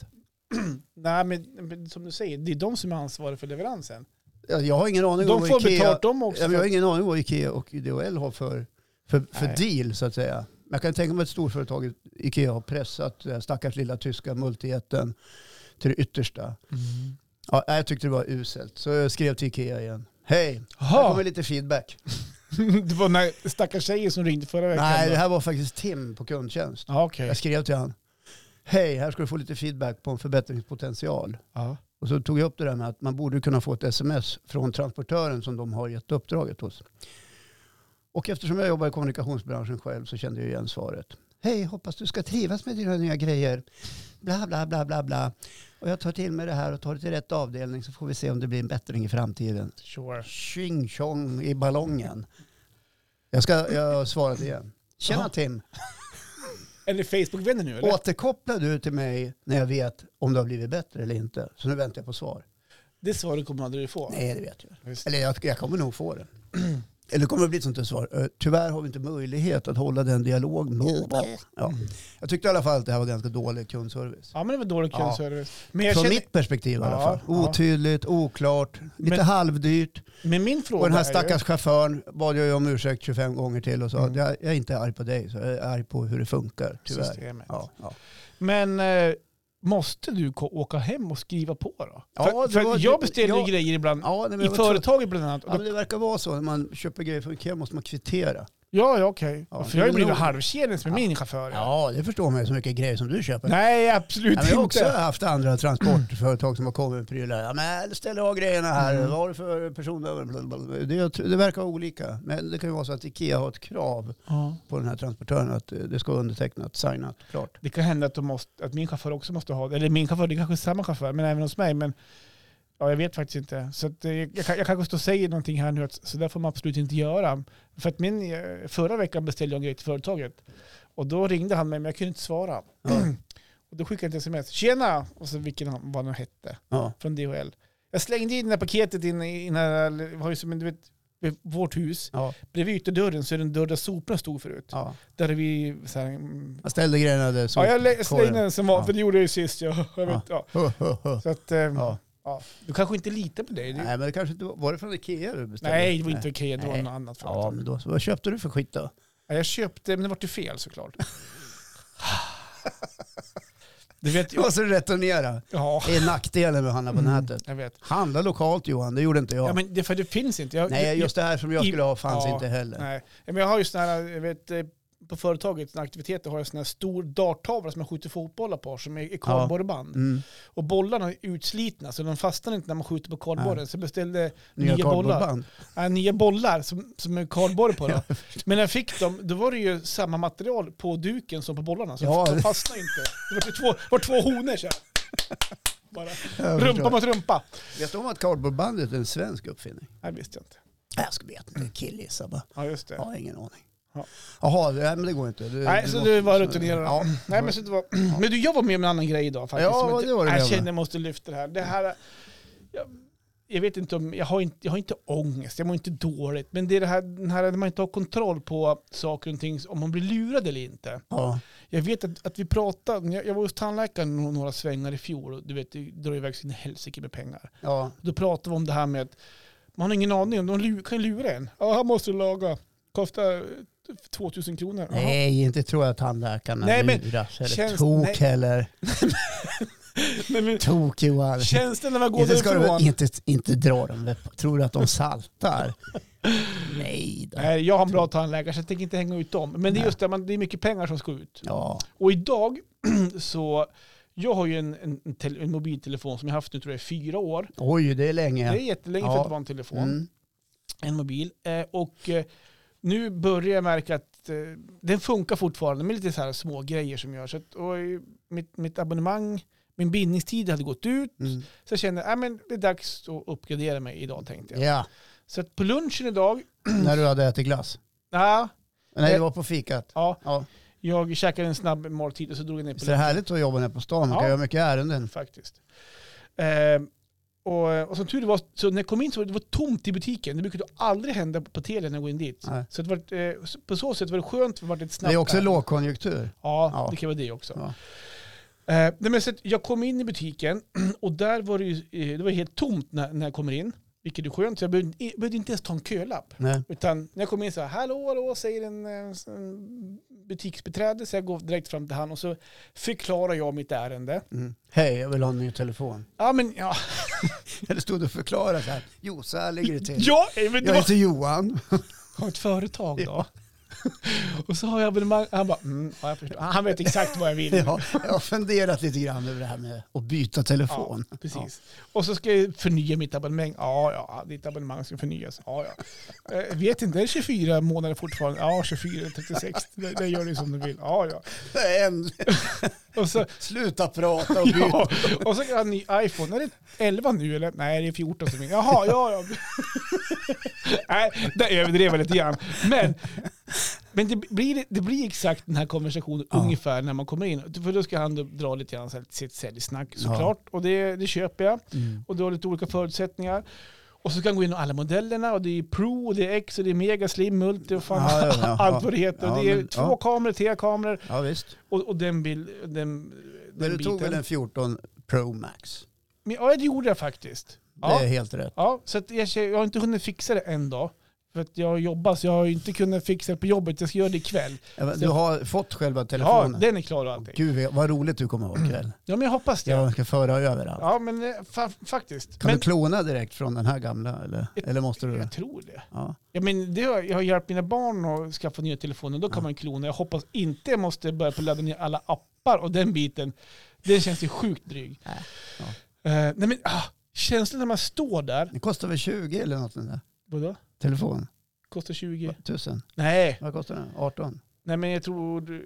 Speaker 2: Nej, men, men som du säger, det är de som är ansvariga för leveransen.
Speaker 1: Ja, Jag har ingen aning om
Speaker 2: De
Speaker 1: vad
Speaker 2: får
Speaker 1: Ikea...
Speaker 2: betalt de också.
Speaker 1: Ja, men jag har ingen aning om vad Ikea och DHL har för, för, för
Speaker 2: Nej.
Speaker 1: deal så att säga. Men jag kan tänka mig att storföretaget Ikea har pressat det här stackars lilla tyska multijätten till det yttersta.
Speaker 2: Mm.
Speaker 1: Ja, nej, jag tyckte det var uselt, så jag skrev till Ikea igen. Hej, här kommer
Speaker 2: Jaha,
Speaker 1: lite feedback.
Speaker 2: det var den här stackars tjejen som ringde förra veckan.
Speaker 1: Nej,
Speaker 2: då.
Speaker 1: det här var faktiskt Tim på kundtjänst.
Speaker 2: Ja, okej.
Speaker 1: Jag skrev till han. Hej, här ska du få lite feedback på en förbättringspotential.
Speaker 2: Ja.
Speaker 1: Och så tog jag upp det där med att man borde kunna få ett sms från transportören som de har gett uppdraget hos. Och eftersom jag jobbar i kommunikationsbranschen själv så kände jag igen svaret. Hej, hoppas du ska trivas med dina nya grejer. Bla, bla, bla, bla, bla. Och jag tar till mig det här och tar det till rätt avdelning så får vi se om det blir en bättring i framtiden.
Speaker 2: Sure.
Speaker 1: Tjing tjong i ballongen. Jag ska jag svarat igen. Tjena
Speaker 2: Ja.
Speaker 1: Tim,
Speaker 2: Är ni Facebook-vänner nu eller?
Speaker 1: återkoppla du till mig när jag vet om det har blivit bättre eller inte. Så nu väntar jag på svar.
Speaker 2: Det svaret kommer aldrig du få.
Speaker 1: Nej, det vet jag.
Speaker 2: Just.
Speaker 1: Eller jag, jag kommer nog få det. Eller det kommer bli ett sånt där svar. Eh, Tyvärr har vi inte möjlighet att hålla den dialogen. Ja. Jag tyckte i alla fall att det här var ganska dålig kundservice.
Speaker 2: Ja, men det var dålig
Speaker 1: Ja.
Speaker 2: kundservice. Men, jag
Speaker 1: Från
Speaker 2: känner,
Speaker 1: mitt perspektiv i alla
Speaker 2: Ja,
Speaker 1: fall.
Speaker 2: ja.
Speaker 1: Otydligt, oklart, lite
Speaker 2: Men-
Speaker 1: halvdyrt.
Speaker 2: men min
Speaker 1: Och
Speaker 2: fråga
Speaker 1: den här
Speaker 2: är ju,
Speaker 1: stackars chauffören bad jag ju om ursäkt 25 gånger till och sa
Speaker 2: Mm.
Speaker 1: att jag, jag är inte arg på dig, så jag är arg på hur det funkar, tyvärr.
Speaker 2: Systemet.
Speaker 1: Ja, ja.
Speaker 2: Men eh, måste du ko- åka hem och skriva på då?
Speaker 1: Ja,
Speaker 2: för,
Speaker 1: det
Speaker 2: för
Speaker 1: var-
Speaker 2: att jag beställer ju
Speaker 1: ja.
Speaker 2: grejer ibland.
Speaker 1: Ja, nej, men
Speaker 2: I
Speaker 1: jag var tvungen-
Speaker 2: företaget bland annat.
Speaker 1: ja, men det verkar vara så. När man köper grejer från Ikea måste man kvittera.
Speaker 2: Ja, ja okej.
Speaker 1: Ja,
Speaker 2: för jag har ju
Speaker 1: men
Speaker 2: blivit
Speaker 1: nog-
Speaker 2: halvkedis med
Speaker 1: Ja.
Speaker 2: min chaufför.
Speaker 1: Ja, det förstår man ju så mycket grejer som du köper.
Speaker 2: Nej, absolut
Speaker 1: Ja, men jag har också
Speaker 2: inte.
Speaker 1: haft andra transportföretag som har kommit med prylar. Ja, men ställ av grejerna här.
Speaker 2: Mm.
Speaker 1: Vad har du för personnummer? Det, jag tror- det verkar vara olika. Men det kan ju vara så att Ikea har ett krav
Speaker 2: Ja.
Speaker 1: på den här transportören att eh, det ska vara undertecknat, signat, klart.
Speaker 2: Det kan hända att, de måste, att min chaufför också måste ha det. Eller min chaufför, det kanske är samma chaufför, men även hos mig. Men ja, jag vet faktiskt inte. Så att, eh, jag, kan- jag kanske står och säger någonting här nu, att, så där får man absolut inte göra. För att min, eh, förra veckan beställde jag en grej till företaget. Och då ringde han mig, men jag kunde inte svara.
Speaker 1: Ja.
Speaker 2: Och då skickade jag ett sms. Tjena! Och så vilken han, vad han hette,
Speaker 1: Ja.
Speaker 2: från DHL. Jag slängde in det här paketet in i, i den här, vi har ju som en- du vet, vid vårt hus.
Speaker 1: Ja.
Speaker 2: Bredvid yterdörren så är det en dörr där soporna stod förut.
Speaker 1: Ja.
Speaker 2: Där är vi så här, mm,
Speaker 1: Jag ställde grejerna där. Så.
Speaker 2: Ja, jag lä- slängde den som var,
Speaker 1: Ja.
Speaker 2: för det gjorde jag ju sist. Ja. Jag vet, ja.
Speaker 1: Huh, huh, huh.
Speaker 2: Så att, eh,
Speaker 1: Ja.
Speaker 2: ja. Du kanske inte litar på dig? Du, nej,
Speaker 1: Nej, men det kanske inte var, var det från Ikea du beställde?
Speaker 2: det var inte okej. Det
Speaker 1: Mm.
Speaker 2: var
Speaker 1: Nej.
Speaker 2: något annat.
Speaker 1: Ja,
Speaker 2: företag.
Speaker 1: men då, så vad köpte du för skit då?
Speaker 2: Ja. Jag köpte, men det vart ju fel såklart. du vet,
Speaker 1: Du
Speaker 2: jag,
Speaker 1: måste returnera.
Speaker 2: ja,
Speaker 1: Det är nackdelen med att handla på
Speaker 2: Mm.
Speaker 1: nätet.
Speaker 2: jag vet.
Speaker 1: Handla lokalt Johan, det gjorde inte jag.
Speaker 2: Ja, men det, för det finns inte. Jag,
Speaker 1: Nej,
Speaker 2: jag-
Speaker 1: just det här som jag
Speaker 2: i-
Speaker 1: skulle ha fanns
Speaker 2: ja,
Speaker 1: inte heller.
Speaker 2: Nej, men jag har ju sådana här, jag vet, eh, på företaget, en aktivitet, har jag en sån här stor darttavla som jag skjuter fotbollar på som är i kardborreband.
Speaker 1: Mm.
Speaker 2: Och bollarna är utslitna så de fastnar inte när man skjuter på kardborren.
Speaker 1: Nej.
Speaker 2: Så jag beställde
Speaker 1: Nya,
Speaker 2: nya,
Speaker 1: nya
Speaker 2: bollar.
Speaker 1: kardboardband.
Speaker 2: Ja, nya bollar som, som är kardborre på. Då. Men när jag fick dem, då var det ju samma material på duken som på bollarna. Så
Speaker 1: Ja.
Speaker 2: de fastnade inte. Det var ju två, var två honor så här. Bara.
Speaker 1: Jag
Speaker 2: Rumpa
Speaker 1: förstår.
Speaker 2: mot rumpa.
Speaker 1: Vet du om att kardboardbandet är en svensk uppfinning?
Speaker 2: Nej, visste jag inte.
Speaker 1: Jag skulle veta inte. Killgissa bara.
Speaker 2: Ja, just det.
Speaker 1: Jag har ingen aning.
Speaker 2: Ja.
Speaker 1: Jaha, det- nej, men det går inte. Du,
Speaker 2: Nej, så
Speaker 1: måste-
Speaker 2: du var rutinerad.
Speaker 1: Ja.
Speaker 2: Nej, men, så det var, men du, jag var med om en annan grej idag faktiskt.
Speaker 1: Ja,
Speaker 2: som jag
Speaker 1: vad
Speaker 2: inte-
Speaker 1: det var du med
Speaker 2: jag
Speaker 1: om.
Speaker 2: känner jag måste lyfta det här. Det här jag, jag vet inte om, jag har inte, jag har inte ångest, jag mår inte dåligt. Men det är det här, den här när man inte har kontroll på saker och ting, om man blir lurad eller inte.
Speaker 1: Ja.
Speaker 2: Jag vet att, att vi pratade, jag, jag var hos tandläkaren no- några svängar i fjol och du vet, det drar iväg sin helsike med pengar.
Speaker 1: ja.
Speaker 2: Då pratade vi om det här med att man har ingen aning om, de lu- kan ju lura en. Ja, här måste du laga, kostar eh, 2000 kronor. Jaha.
Speaker 1: Nej, inte tror jag att tandläkarna
Speaker 2: Nej, men
Speaker 1: luras. Eller
Speaker 2: känns-
Speaker 1: tok
Speaker 2: nej.
Speaker 1: heller.
Speaker 2: Men, men,
Speaker 1: Tok Johan.
Speaker 2: Känns det när man går
Speaker 1: Inte, ska
Speaker 2: därifrån?
Speaker 1: du, inte, inte dra dem. där på. Tror du att de saltar? Nej då.
Speaker 2: Nej, Eh, jag har en bra tandläkare så jag tänker inte hänga ut dem. Men det är
Speaker 1: Nej.
Speaker 2: just det, man, det är mycket pengar som ska ut.
Speaker 1: Ja.
Speaker 2: Och idag så, jag har ju en, en, en, tele, en mobiltelefon som jag haft nu tror jag i fyra år.
Speaker 1: Oj, det är länge. Mm,
Speaker 2: Det är jättelänge för
Speaker 1: Ja.
Speaker 2: att vara en telefon,
Speaker 1: Mm.
Speaker 2: en mobil. Eh, och eh, nu börjar jag märka att eh, den funkar fortfarande med lite så här små grejer som görs. Så att- Och eh, mitt, mitt abonnemang, min bindningstid hade gått ut.
Speaker 1: Mm.
Speaker 2: Så jag kände, nej men det är dags att uppgradera mig idag tänkte jag.
Speaker 1: Ja,
Speaker 2: Så att på lunchen idag,
Speaker 1: när du hade ätit glass.
Speaker 2: ja,
Speaker 1: Nej, det var på fikat.
Speaker 2: ja
Speaker 1: Ja.
Speaker 2: Jag käkade en snabb måltid och så drog jag ner på
Speaker 1: Så det är härligt att jobba nere på stan. Man kan
Speaker 2: Ja.
Speaker 1: göra mycket ärenden.
Speaker 2: faktiskt. Ehm, och, och som tur var, så när jag kom in så var det var tomt i butiken. Det brukar ju aldrig hända på Telia när jag går in dit.
Speaker 1: Nej.
Speaker 2: Så det var, eh, så- på så sätt var det skönt, för det var ett
Speaker 1: Det
Speaker 2: snabbt
Speaker 1: är också
Speaker 2: där.
Speaker 1: lågkonjunktur.
Speaker 2: Ja,
Speaker 1: Ja.
Speaker 2: det kan vara det också.
Speaker 1: Ja.
Speaker 2: Eh, nej, men så att jag kom in i butiken och där var det, ju, eh, det var helt tomt när, när jag kommer in. Vilket är skönt, så jag behövde, jag behövde inte ens ta en kölapp.
Speaker 1: Nej.
Speaker 2: Utan när jag kom in så här, hallå, hallå, säger en, eh, en butiksbiträde. Så jag går direkt fram till han och så förklarar jag mitt ärende.
Speaker 1: Mm. Hej, jag vill ha en ny telefon.
Speaker 2: Ja, men ja.
Speaker 1: Eller stod och förklarade så här. Jo, så här ligger det till.
Speaker 2: Ja, men det
Speaker 1: Jag
Speaker 2: var...
Speaker 1: heter Johan.
Speaker 2: Har ett företag då. Och så har jag abonnemang. Han bara, mm, ja, jag förstår. Han vet exakt vad jag vill.
Speaker 1: Ja, jag har funderat lite grann över det här med att byta telefon.
Speaker 2: Ja, precis. Och så ska jag förnya mitt abonnemang. Ja, ja, ditt abonnemang ska förnyas. Ja, ja. Eh, vet inte, är det 24 månader fortfarande? Ja, 24 eller 36. Det, det gör du som du vill. Ja, ja.
Speaker 1: Ja. En,
Speaker 2: Och så,
Speaker 1: sluta prata och byt.
Speaker 2: ja. Och så kan jag ha en ny iPhone. Är det 11 nu eller? Nej, det är 14 som är. Jaha, ja, ja. Nej, där överdrev jag lite grann. Men, men det, blir, det blir exakt den här konversationen
Speaker 1: Ja.
Speaker 2: ungefär när man kommer in. För då ska han då dra lite grann så här sitt säljsnack
Speaker 1: Ja.
Speaker 2: såklart. Och det, det köper jag.
Speaker 1: Mm.
Speaker 2: Och du har lite olika förutsättningar. Och så kan jag gå in och alla modellerna och det är Pro, och det är X och det är Mega, Slim, Multi och fan
Speaker 1: Ja, ja, ja,
Speaker 2: allt
Speaker 1: ja.
Speaker 2: vad det heter.
Speaker 1: Ja,
Speaker 2: och det är
Speaker 1: men-
Speaker 2: två
Speaker 1: ja.
Speaker 2: kameror, tre kameror
Speaker 1: Ja, visst.
Speaker 2: och, och den, bil, den,
Speaker 1: Men
Speaker 2: den
Speaker 1: du tog väl en 14 Pro Max?
Speaker 2: Men, ja, det gjorde jag faktiskt. Ja,
Speaker 1: Det är helt rätt.
Speaker 2: ja så att jag, jag har inte hunnit fixa det än då. För att jag jobbar så jag har ju inte kunnat fixa det på jobbet. Jag ska göra det ikväll.
Speaker 1: Ja, men
Speaker 2: Så-
Speaker 1: Du har fått själva
Speaker 2: Ja,
Speaker 1: telefonen?
Speaker 2: den är klar och allting.
Speaker 1: Gud vad roligt du kommer ihåg kväll.
Speaker 2: Ja, men jag hoppas det. Ja,
Speaker 1: Jag ska föra över allt.
Speaker 2: men eh, fa- faktiskt.
Speaker 1: Kan
Speaker 2: men,
Speaker 1: du klona direkt från den här gamla eller,
Speaker 2: Ett-
Speaker 1: eller måste du?
Speaker 2: Jag tror det.
Speaker 1: Ja.
Speaker 2: Ja, men det har, jag har hjälpt mina barn att skaffa nya telefoner. Då kan
Speaker 1: Ja.
Speaker 2: man klona. Jag hoppas inte jag måste börja på att ladda ner alla appar och den biten. Den känns ju sjukt dryg.
Speaker 1: Nej. Äh, Ja.
Speaker 2: Eh, nej, men ah, känslan när man står där.
Speaker 1: Det kostar väl 20 eller något den där
Speaker 2: Vadå?
Speaker 1: telefonen?
Speaker 2: Kostar 20?
Speaker 1: Tusen?
Speaker 2: Nej,
Speaker 1: Vad kostar den? 18?
Speaker 2: Nej men jag tror, eh,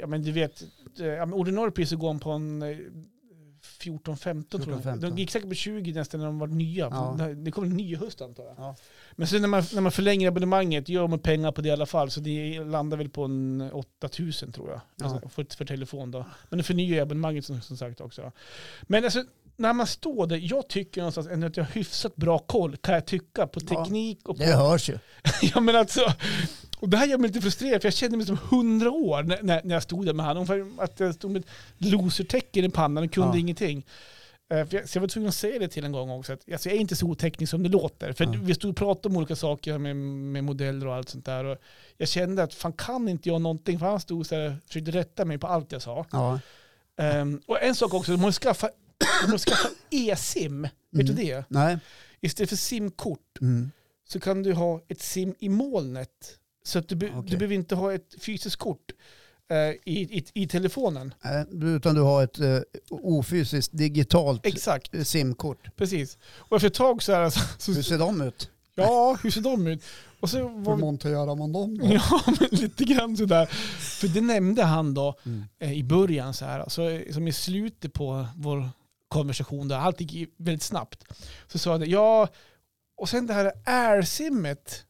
Speaker 2: ja men du vet, eh, ja, men ordinarie pris så går de på en eh, 14-15 tror
Speaker 1: 14-15.
Speaker 2: jag. De gick säkert på 20 nästan när de var nya.
Speaker 1: Ja.
Speaker 2: Det- Det kommer en ny höst antar jag.
Speaker 1: Ja.
Speaker 2: Men sen när man, när man förlänger abonnemanget gör man pengar på det i alla fall. Så det landar väl på en 8000 tror jag.
Speaker 1: Ja.
Speaker 2: Alltså, för, för telefon då. Men det förnyar ju abonnemanget som, som sagt också. Men alltså, när man står där, jag tycker någonstans ändå att jag har hyfsat bra koll kan jag tycka på
Speaker 1: Ja.
Speaker 2: teknik och på
Speaker 1: Det hörs ju.
Speaker 2: Ja men alltså, och det här gör mig lite frustrerad för jag kände mig som hundra år när, när, när jag stod där med han. Ungefär att jag stod med ett losertecken i pannan och kunde
Speaker 1: Ja.
Speaker 2: ingenting. Eh, För jag, så jag var tvungen att säga det till en gång också. Att, alltså jag är inte så oteknisk som det låter. För
Speaker 1: Ja.
Speaker 2: vi stod och pratade om olika saker med, med modeller och allt sånt där. Och jag kände att fan kan inte jag någonting? För han stod så här och försökte rätta mig på allt jag sa.
Speaker 1: Ja.
Speaker 2: Ehm, och en sak också, de måste skaffa, de måste skaffa e-sim. Vet du det?
Speaker 1: Mm. Nej.
Speaker 2: Istället för simkort
Speaker 1: Mm.
Speaker 2: så kan du ha ett sim i molnet Så att du, be-
Speaker 1: Okej.
Speaker 2: du behöver inte ha ett fysiskt kort eh, i, i, i telefonen.
Speaker 1: Nej, Utan du har ett eh, ofysiskt digitalt eh,
Speaker 2: Exakt,
Speaker 1: simkort.
Speaker 2: precis. Och efter ett tag så är det så,
Speaker 1: Hur
Speaker 2: så
Speaker 1: ser de ut?
Speaker 2: ja, hur ser de ut? Och så var
Speaker 3: Hur
Speaker 2: vi,
Speaker 3: monterar man dem då?
Speaker 2: ja, men lite grann sådär. För det nämnde han då
Speaker 1: Mm.
Speaker 2: eh, i början så här, alltså, eh, som i slutet på vår konversation, där allt gick ju väldigt snabbt. Så sa han det, ja, och sen det här air-simmet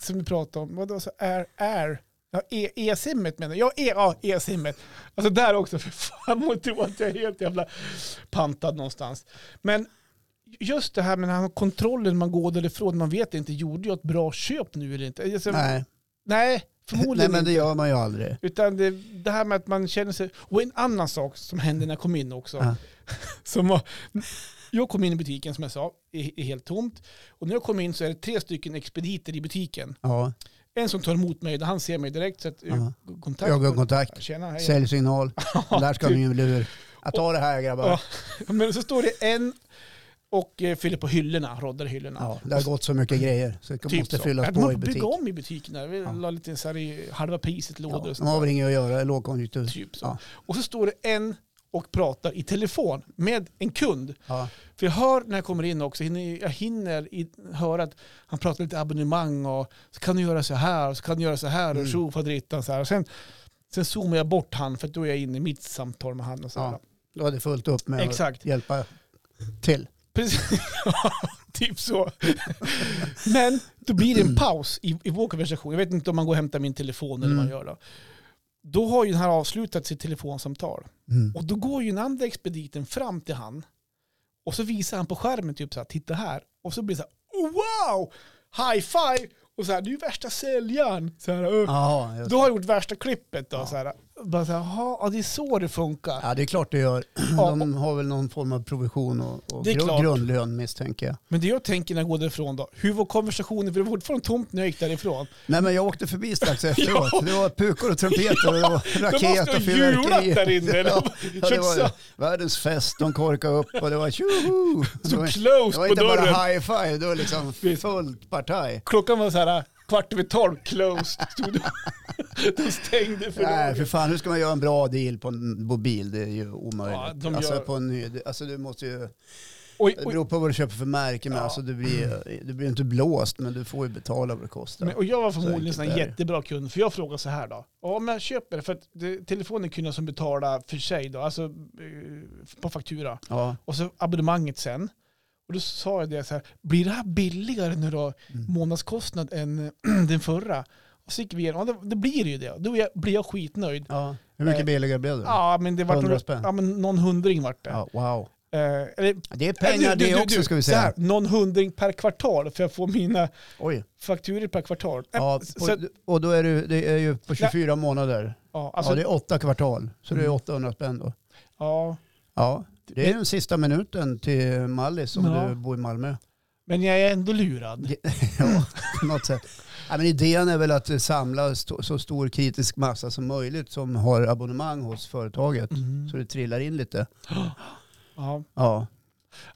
Speaker 2: som vi pratade om, vadå så air, air? Ja, E- E-simmet menar jag. Ja, E- Ja, E-simmet. Alltså där också, för fan må tro att jag är helt jävla pantad någonstans. Men just det här med den här kontrollen, man går därifrån, man vet inte, gjorde jag ett bra köp nu eller inte? Alltså,
Speaker 1: Nej.
Speaker 2: nej, förmodligen
Speaker 1: Nej, men
Speaker 2: inte.
Speaker 1: det gör man ju aldrig.
Speaker 2: Utan det, det här med att man känner sig... Och en annan sak som hände när jag kom in också.
Speaker 1: Ja.
Speaker 2: Som var, jag kom in i butiken som jag sa, är, är helt tomt. Och när jag kom in så är det tre stycken expediter i butiken.
Speaker 1: Ja.
Speaker 2: En som tar emot mig, han ser mig direkt. Så att,
Speaker 1: Ja.
Speaker 2: kontakt.
Speaker 1: Ögonkontakt,
Speaker 2: Tjena, hej.
Speaker 1: säljsignal. Där ska ni ju lur. Jag tar det här grabbar.
Speaker 2: Ja. Men så står det en och eh, fyller på hyllorna, roddar hyllorna.
Speaker 1: Ja, det har gått så mycket grejer så det
Speaker 2: Typ
Speaker 1: måste
Speaker 2: så.
Speaker 1: fyllas
Speaker 2: Ja,
Speaker 1: på
Speaker 2: man
Speaker 1: i
Speaker 2: får
Speaker 1: butik.
Speaker 2: bygga om i butikerna. Vi
Speaker 1: Ja.
Speaker 2: la lite så här i halva priset
Speaker 1: Ja,
Speaker 2: lådor. och
Speaker 1: de
Speaker 2: sånt
Speaker 1: har
Speaker 2: där.
Speaker 1: väl inget att göra, lågkonjunktur.
Speaker 2: typ så.
Speaker 1: Ja.
Speaker 2: Och så står det en och pratar i telefon med en kund.
Speaker 1: Ja.
Speaker 2: För jag hör när jag kommer in också, hinner- jag hinner i, höra att han pratar lite abonnemang och så kan du göra så här och så kan du göra så här och
Speaker 1: Mm.
Speaker 2: tjo faderittan så här. Och sen, sen zoomar jag bort han för att då är jag inne i mitt samtal med han och så här.
Speaker 1: Ja. Då hade fullt upp med
Speaker 2: Exakt.
Speaker 1: att hjälpa till.
Speaker 2: Precis, Ja, typ så. Men då blir
Speaker 1: Mm.
Speaker 2: det en paus i, i vår konversation. Jag vet inte om man går och hämtar min telefon eller vad man
Speaker 1: Mm.
Speaker 2: gör då. Då har ju den här avslutat sitt telefonsamtal.
Speaker 1: Mm.
Speaker 2: Och då går ju den andra expediten fram till han och så visar han på skärmen typ så här, titta här. Och så blir det så här, "Oh, wow, high five! Och så här, du är värsta säljaren. Så här, "Åh."
Speaker 1: Jaha, just.
Speaker 2: Då har jag gjort värsta klippet då.
Speaker 1: Ja.
Speaker 2: Så här, bara så här, "Jaha, ja, det är så det funkar.
Speaker 1: Ja, det är klart det gör.
Speaker 2: Ja,
Speaker 1: De har väl någon form av provision och, och
Speaker 2: Det är
Speaker 1: grund,
Speaker 2: klart.
Speaker 1: grundlön misstänker jag.
Speaker 2: Men det jag tänker när jag går därifrån då, hur var konversationen? För det var fortfarande tomt när jag gick därifrån.
Speaker 1: Nej men jag åkte förbi strax efteråt. Det var pukor och trumpeter och det var
Speaker 2: de måste
Speaker 1: raket
Speaker 2: ha
Speaker 1: och
Speaker 2: hjulat där
Speaker 1: fyrverkerier.
Speaker 2: inne. eller
Speaker 1: Ja, Ja, det
Speaker 2: kört
Speaker 1: var
Speaker 2: så,
Speaker 1: världens fest, de korkade upp och det var tjoho! Det
Speaker 2: så
Speaker 1: var- Det
Speaker 2: close
Speaker 1: var
Speaker 2: på
Speaker 1: inte bara
Speaker 2: dörren.
Speaker 1: high five, det var liksom fullt partaj.
Speaker 2: Klockan var så här kvart över tolv, closed. stod det. De stängde för
Speaker 1: Nej,
Speaker 2: dagen.
Speaker 1: för fan, hur ska man göra en bra deal på en mobil? Det är ju omöjligt.
Speaker 2: Ja, de
Speaker 1: alltså,
Speaker 2: gör-
Speaker 1: på en ny, alltså du måste ju...
Speaker 2: Och,
Speaker 1: Det
Speaker 2: och,
Speaker 1: beror på vad du köper för märke, men
Speaker 2: Ja.
Speaker 1: alltså du blir du blir inte blåst, men du får ju betala vad det kostar.
Speaker 2: Men, och jag var
Speaker 1: enkelt
Speaker 2: förmodligen så en
Speaker 1: är det.
Speaker 2: jättebra kund, för jag frågade så här då. Ja, men jag köper det, för att det, telefonen kunde jag som betala för sig då, alltså eh, på faktura.
Speaker 1: Ja,
Speaker 2: Och så abonnemanget sen. Och då sa jag det så här, blir det här billigare nu då,
Speaker 1: Mm.
Speaker 2: månadskostnad än den förra? Och så gick vi igenom, ja det, det blir ju det. Då är jag- blir jag skitnöjd.
Speaker 1: ja. Hur mycket
Speaker 2: Eh,
Speaker 1: billigare blev det?
Speaker 2: Ja, men det var
Speaker 1: 100
Speaker 2: några,
Speaker 1: spänn.
Speaker 2: ja, men någon hundring vart det.
Speaker 1: Ja, wow.
Speaker 2: Eh, eller,
Speaker 1: Det är
Speaker 2: eller
Speaker 1: pengar
Speaker 2: du-
Speaker 1: det
Speaker 2: du-
Speaker 1: också
Speaker 2: du,
Speaker 1: ska vi
Speaker 2: så
Speaker 1: säga.
Speaker 2: Här, någon hundring per kvartal, för jag får mina
Speaker 1: Oj.
Speaker 2: fakturor per kvartal. Eh,
Speaker 1: Ja,
Speaker 2: så,
Speaker 1: på, och då är det, det är ju på 24 månader.
Speaker 2: ja, alltså,
Speaker 1: ja, det är åtta kvartal, så det är
Speaker 2: Mm.
Speaker 1: 800 spänn då.
Speaker 2: ja.
Speaker 1: Ja, det är den sista minuten till Mallis om
Speaker 2: Ja.
Speaker 1: du bor i Malmö.
Speaker 2: Men jag är ändå lurad.
Speaker 1: ja, på något sätt. Ja, men idén är väl att eh, samla st- så stor kritisk massa som möjligt som har abonnemang hos företaget. Mm.
Speaker 2: Mm.
Speaker 1: Så det trillar in lite.
Speaker 2: Ja.
Speaker 1: Ja.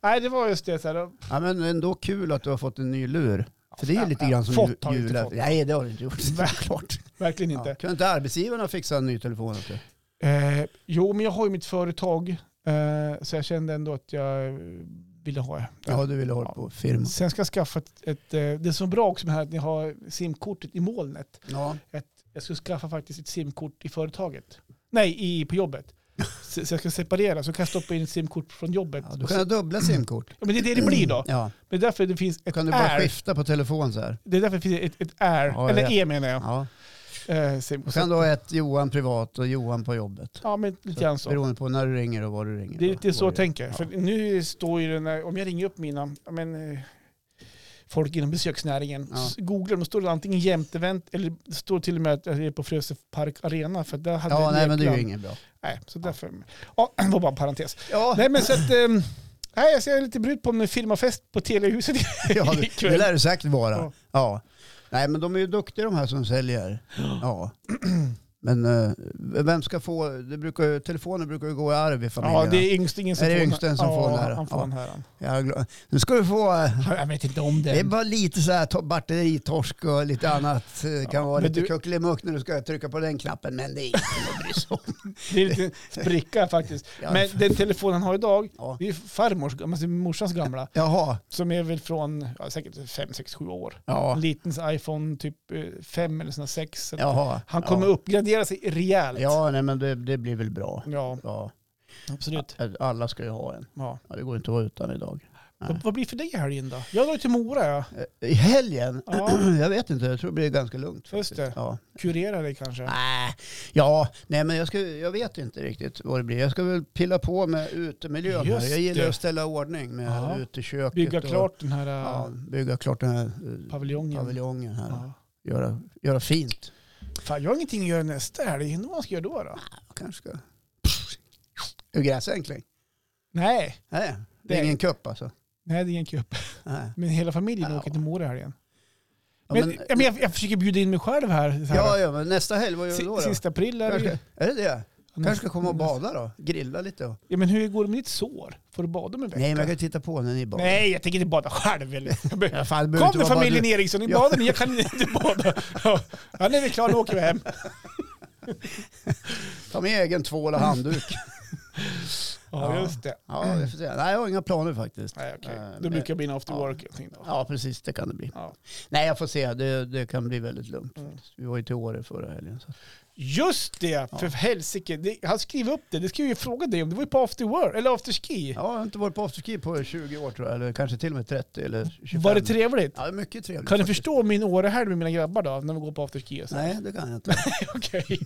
Speaker 2: Nej, det var just det. Så här.
Speaker 1: ja, men ändå kul att du har fått en ny lur. För det är ju lite
Speaker 2: Ja,
Speaker 1: grann som
Speaker 2: fått
Speaker 1: ju-
Speaker 2: har jag inte
Speaker 1: jula-
Speaker 2: fått.
Speaker 1: Nej, det har du inte gjort.
Speaker 2: Nej.
Speaker 1: Klart.
Speaker 2: Verkligen
Speaker 1: Ja.
Speaker 2: inte.
Speaker 1: Kan inte arbetsgivarna fixa en ny telefon? åt dig?
Speaker 2: Eh, jo, men jag har ju mitt företag. Eh, så jag kände ändå att jag eh, ville ha det.
Speaker 1: Ja, du ville hålla
Speaker 2: Ja.
Speaker 1: på firma.
Speaker 2: Sen ska jag skaffa ett, ett eh, det som är bra också med det här att ni har simkortet i molnet.
Speaker 1: Ja.
Speaker 2: Jag ska skaffa faktiskt ett simkort i företaget. Nej, i, på jobbet. Så, så jag ska separera, så kan jag stoppa in ett simkort från jobbet.
Speaker 1: Ja,
Speaker 2: Ja,
Speaker 1: du kan ha dubbla simkort.
Speaker 2: men det är det det blir då.
Speaker 1: Ja.
Speaker 2: Det är därför det finns ett
Speaker 1: Kan du bara
Speaker 2: air.
Speaker 1: skifta på telefon så här?
Speaker 2: Det är därför det finns ett, ett air,
Speaker 1: Ja, jag
Speaker 2: eller
Speaker 1: vet.
Speaker 2: e menar jag.
Speaker 1: Ja.
Speaker 2: Eh, sim-
Speaker 1: Då kan du ha ett Johan privat och Johan på jobbet.
Speaker 2: Ja, men lite grann så.
Speaker 1: Beroende på när du ringer och var du ringer.
Speaker 2: Det är lite
Speaker 1: Vad
Speaker 2: så
Speaker 1: du
Speaker 2: jag
Speaker 1: gör.
Speaker 2: tänker.
Speaker 1: Ja.
Speaker 2: För nu står ju den här, om jag ringer upp mina, ja, men, eh, folk inom besöksnäringen,
Speaker 1: Ja.
Speaker 2: s- googlar de, står det antingen jämtevent eller det står till och med att jag är på Frösö Park Arena. För där hade
Speaker 1: Ja,
Speaker 2: jag
Speaker 1: nej men det är ju
Speaker 2: lekland.
Speaker 1: inget bra.
Speaker 2: Nej, så därför. Ja, det var bara en parentes.
Speaker 1: Ja,
Speaker 2: Nej, men så att, ehm, nej, jag ser lite brut på om det är firmafest på Teliahuset.
Speaker 1: ja det,
Speaker 2: ikväll.
Speaker 1: det lär det säkert vara.
Speaker 2: Ja.
Speaker 1: Ja. Nej men de är ju duktiga de här som säljer. Ja. Men eh, vem ska få, det brukar, ju- telefoner brukar ju gå i arv i familjen.
Speaker 2: Ja, det är yngstingen som
Speaker 1: Är det
Speaker 2: får
Speaker 1: yngsten som får den
Speaker 2: ja,
Speaker 1: där?
Speaker 2: Han får
Speaker 1: Ja.
Speaker 2: den här.
Speaker 1: Jag är glad. Nu ska du få, eh,
Speaker 2: Jag vet inte om
Speaker 1: det är
Speaker 2: den.
Speaker 1: bara lite så här to- batteritorsk och lite annat. eh, kan vara
Speaker 2: men
Speaker 1: lite
Speaker 2: du-
Speaker 1: kuckelimuck när du ska trycka på den knappen. Men det är inget att bry sig om.
Speaker 2: Det är lite spricka faktiskt.
Speaker 1: Ja,
Speaker 2: Men den telefon han har idag,
Speaker 1: Ja.
Speaker 2: det är farmors, alltså morsans gamla,
Speaker 1: Jaha,
Speaker 2: som är väl från ja, säkert 5, 6, 7 år.
Speaker 1: ja.
Speaker 2: En liten så iPhone, typ 5 eller såna 6.
Speaker 1: Jaha.
Speaker 2: Han kommer
Speaker 1: ja.
Speaker 2: uppgradera sig rejält.
Speaker 1: Ja, nej, men det, det blir väl bra.
Speaker 2: Ja,
Speaker 1: Ja.
Speaker 2: absolut.
Speaker 1: Alla ska ju ha en.
Speaker 2: Ja.
Speaker 1: Ja, det går inte att vara utan idag. Nej.
Speaker 2: Vad, vad blir för dig i helgen då? Jag drar ju till Mora, ja.
Speaker 1: Eh, I helgen?
Speaker 2: Ja.
Speaker 1: Jag vet inte, jag tror det blir ganska lugnt. faktiskt.
Speaker 2: det.
Speaker 1: Ja.
Speaker 2: Kurera dig kanske.
Speaker 1: Nej, ja, nej men jag, ska, jag vet inte riktigt vad det blir. Jag ska väl pilla på med utemiljön här.
Speaker 2: Just
Speaker 1: Jag gillar
Speaker 2: det.
Speaker 1: att ställa ordning med
Speaker 2: Ja.
Speaker 1: uteköket.
Speaker 2: Bygga
Speaker 1: och-
Speaker 2: klart den här eh,
Speaker 1: Ja, bygga klart den här eh,
Speaker 2: paviljongen.
Speaker 1: paviljongen här.
Speaker 2: Ja.
Speaker 1: Göra, göra fint.
Speaker 2: Fan, jag har ingenting att göra nästa helg. Undrar vad man ska göra då? då?
Speaker 1: Jag kanske ska... Ur gräsänkling?
Speaker 2: Nej,
Speaker 1: Nej, det
Speaker 2: Det-
Speaker 1: är ingen kupp alltså.
Speaker 2: nej det är ingen kupp.
Speaker 1: Nej.
Speaker 2: Men hela familjen
Speaker 1: Ja.
Speaker 2: åker till Mora i helgen.
Speaker 1: Ja,
Speaker 2: men,
Speaker 1: men-
Speaker 2: ja, men jag, jag försöker bjuda in mig själv här. Så här.
Speaker 1: Ja, ja, men nästa helg, vad gör vi
Speaker 2: Si-
Speaker 1: då? då?
Speaker 2: Sista april är det ju.
Speaker 1: Kanske, är det det?
Speaker 2: Ja,
Speaker 1: kanske ska komma och
Speaker 2: men-
Speaker 1: bada då? Grilla lite? Och.
Speaker 2: Ja, men hur går det med ditt sår? Får du bada om en vecka?
Speaker 1: Nej, men jag kan ju titta på när ni badar.
Speaker 2: Nej, jag tänker inte bada själv. eller? Jag be-
Speaker 1: Ja, fan, det behöver inte
Speaker 2: Kom nu
Speaker 1: vara bara
Speaker 2: familjen
Speaker 1: du.
Speaker 2: Eriksson i
Speaker 1: Ja.
Speaker 2: baden, jag kan inte bada. Ja, ja, nu är vi klara, nu åker vi hem.
Speaker 1: Ta med egen tvål och handduk.
Speaker 2: Ja,
Speaker 1: Ja.
Speaker 2: just det.
Speaker 1: Ja, vi får se. Nej, jag har inga planer faktiskt.
Speaker 2: Nej, okej.
Speaker 1: Eh,
Speaker 2: Då
Speaker 1: men-
Speaker 2: brukar det bli en after
Speaker 1: ja.
Speaker 2: work. jag tänkte, ja.
Speaker 1: Ja, precis. Det kan det bli.
Speaker 2: Ja.
Speaker 1: Nej, jag får se. Det, det kan bli väldigt lugnt.
Speaker 2: Mm.
Speaker 1: faktiskt. Vi var ju till Åre förra helgen. Så.
Speaker 2: Just det, för helsike. Det, han skrev upp det, det skulle jag ju fråga dig om. Det var ju på after work, eller after ski.
Speaker 1: Ja, jag har inte varit på afterski på 20 år tror jag. Eller kanske till och med 30 eller 25.
Speaker 2: Var det trevligt?
Speaker 1: Ja, det är mycket trevligt.
Speaker 2: Kan du
Speaker 1: faktiskt.
Speaker 2: förstå min Årehelg med mina grabbar då, när vi går på afterski och så?
Speaker 1: Nej, det kan jag inte.
Speaker 2: Okej.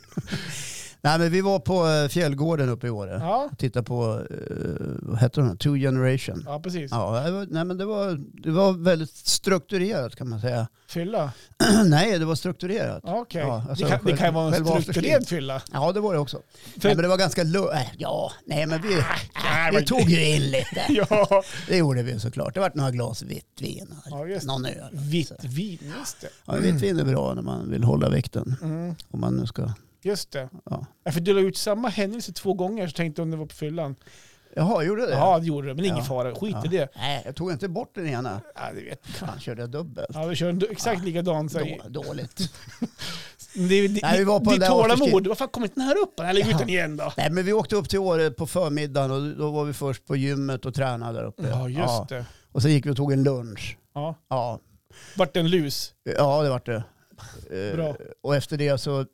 Speaker 1: Nej, men vi var på eh, Fjällgården uppe i Åre.
Speaker 2: Ja.
Speaker 1: Titta på, eh, vad heter den? Two Generation.
Speaker 2: ja, precis.
Speaker 1: Ja, det var- nej, men det, var, det var väldigt strukturerat kan man säga.
Speaker 2: Fylla.
Speaker 1: nej, det var strukturerat.
Speaker 2: Ja, Okej.
Speaker 1: Ja, alltså
Speaker 2: det, kan, det kan ju vara en
Speaker 1: själva afterski.
Speaker 2: strukturerad fylla.
Speaker 1: Ja, det var det också. Nej, men det var ganska lugnt. Ja, nej men vi,
Speaker 2: nej,
Speaker 1: vi
Speaker 2: men-
Speaker 1: tog ju in lite.
Speaker 2: Ja,
Speaker 1: Det gjorde vi såklart. Det vart några glas vitt vin och
Speaker 2: Ja, just det. Mm.
Speaker 1: någon öl.
Speaker 2: vitt vin, just det.
Speaker 1: Ja, vitt vin är bra när man vill hålla vikten.
Speaker 2: Mm,
Speaker 1: Om man nu ska...
Speaker 2: just det.
Speaker 1: Ja.
Speaker 2: Ja, för du la ut samma händelse två gånger så tänkte jag om det var på fyllan.
Speaker 1: Jaha, gjorde det?
Speaker 2: Ja, det gjorde du, men ingen
Speaker 1: Ja.
Speaker 2: fara. Skit
Speaker 1: Ja.
Speaker 2: i det.
Speaker 1: Nej, jag tog inte bort den ena.
Speaker 2: Ja, det vet.
Speaker 1: Fan, körde jag dubbelt?
Speaker 2: Ja, vi kör en du- exakt likadan. Så
Speaker 1: Då, dåligt.
Speaker 2: Det, är- det,
Speaker 1: Nej, vi var på den
Speaker 2: ditt
Speaker 1: där
Speaker 2: tålamod,
Speaker 1: afterski.
Speaker 2: varför kommer inte den här upp? Eller lägg ut
Speaker 1: Ja.
Speaker 2: den igen då.
Speaker 1: Nej, men vi åkte upp till Åre på förmiddagen och då var vi först på gymmet och tränade där uppe.
Speaker 2: Ja, just det.
Speaker 1: Och sen gick vi och tog en lunch.
Speaker 2: Ja.
Speaker 1: Ja,
Speaker 2: Vart det en lus?
Speaker 1: Ja, det vart det. Eh,
Speaker 2: Bra.
Speaker 1: Och efter det så eh,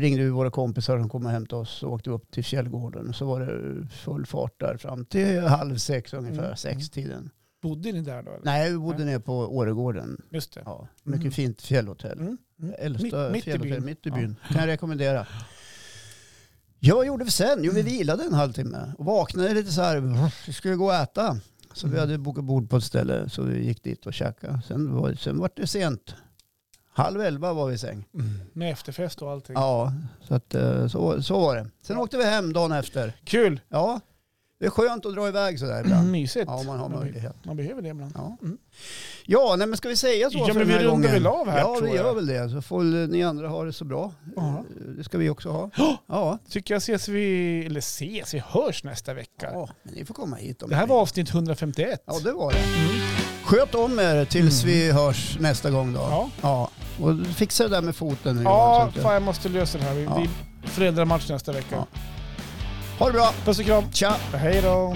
Speaker 1: ringde vi våra kompisar som kom och hämtade oss och åkte upp till Fjällgården. Så var det full fart där fram till halv sex ungefär,
Speaker 2: Mm.
Speaker 1: sextiden.
Speaker 2: Bodde ni där då? Eller?
Speaker 1: Nej, vi bodde nere på Åregården.
Speaker 2: Just det.
Speaker 1: Ja, mycket
Speaker 2: Mm.
Speaker 1: fint fjällhotell.
Speaker 2: Mm. Mm.
Speaker 1: Äldsta
Speaker 2: Mitt- mitt i
Speaker 1: fjällhotell
Speaker 2: byn.
Speaker 1: mitt i byn. Kan jag rekommendera. Ja, vad gjorde vi sen? Jo, vi
Speaker 2: Mm.
Speaker 1: vilade en halvtimme och vaknade lite så här. Vi skulle gå och äta. Så vi
Speaker 2: Mm.
Speaker 1: hade bokat bord på ett ställe så vi gick dit och käkade. Sen var, sen var det sent. Halv elva var vi i säng.
Speaker 2: Med efterfest och allting.
Speaker 1: Ja, så, att, eh, så, så var det. Sen åkte vi hem dagen efter.
Speaker 2: Kul!
Speaker 1: Ja, det är skönt att dra iväg sådär ibland.
Speaker 2: Mysigt.
Speaker 1: Ja, om man har
Speaker 2: Man be-
Speaker 1: möjlighet.
Speaker 2: Man behöver det ibland.
Speaker 1: Ja,
Speaker 2: Mm.
Speaker 1: ja nej, men ska vi säga så
Speaker 2: Ja,
Speaker 1: för
Speaker 2: men
Speaker 1: den
Speaker 2: vi
Speaker 1: här
Speaker 2: rundar
Speaker 1: gången?
Speaker 2: väl av här,
Speaker 1: Ja,
Speaker 2: tror
Speaker 1: vi gör
Speaker 2: jag.
Speaker 1: väl det. Så får väl ni andra ha det så bra.
Speaker 2: Ja.
Speaker 1: Eh, Det ska vi också ha.
Speaker 2: Ja.
Speaker 1: Ja.
Speaker 2: Tycker jag ses vi, eller ses, vi hörs nästa vecka.
Speaker 1: ja, men ni får komma hit om
Speaker 2: Det här
Speaker 1: ni
Speaker 2: var
Speaker 1: vill.
Speaker 2: avsnitt 151.
Speaker 1: Ja, det var det.
Speaker 2: Mm.
Speaker 1: Sköt om er tills vi hörs nästa gång då.
Speaker 2: Ja.
Speaker 1: ja. Och fixa det där med foten nu
Speaker 2: Ja,
Speaker 1: Johan, så att
Speaker 2: fan jag måste lösa det här. Vi,
Speaker 1: Ja.
Speaker 2: vi föräldramatch nästa vecka.
Speaker 1: Ja. Ha det bra.
Speaker 2: Puss och kram.
Speaker 1: Tja.
Speaker 2: Hej då.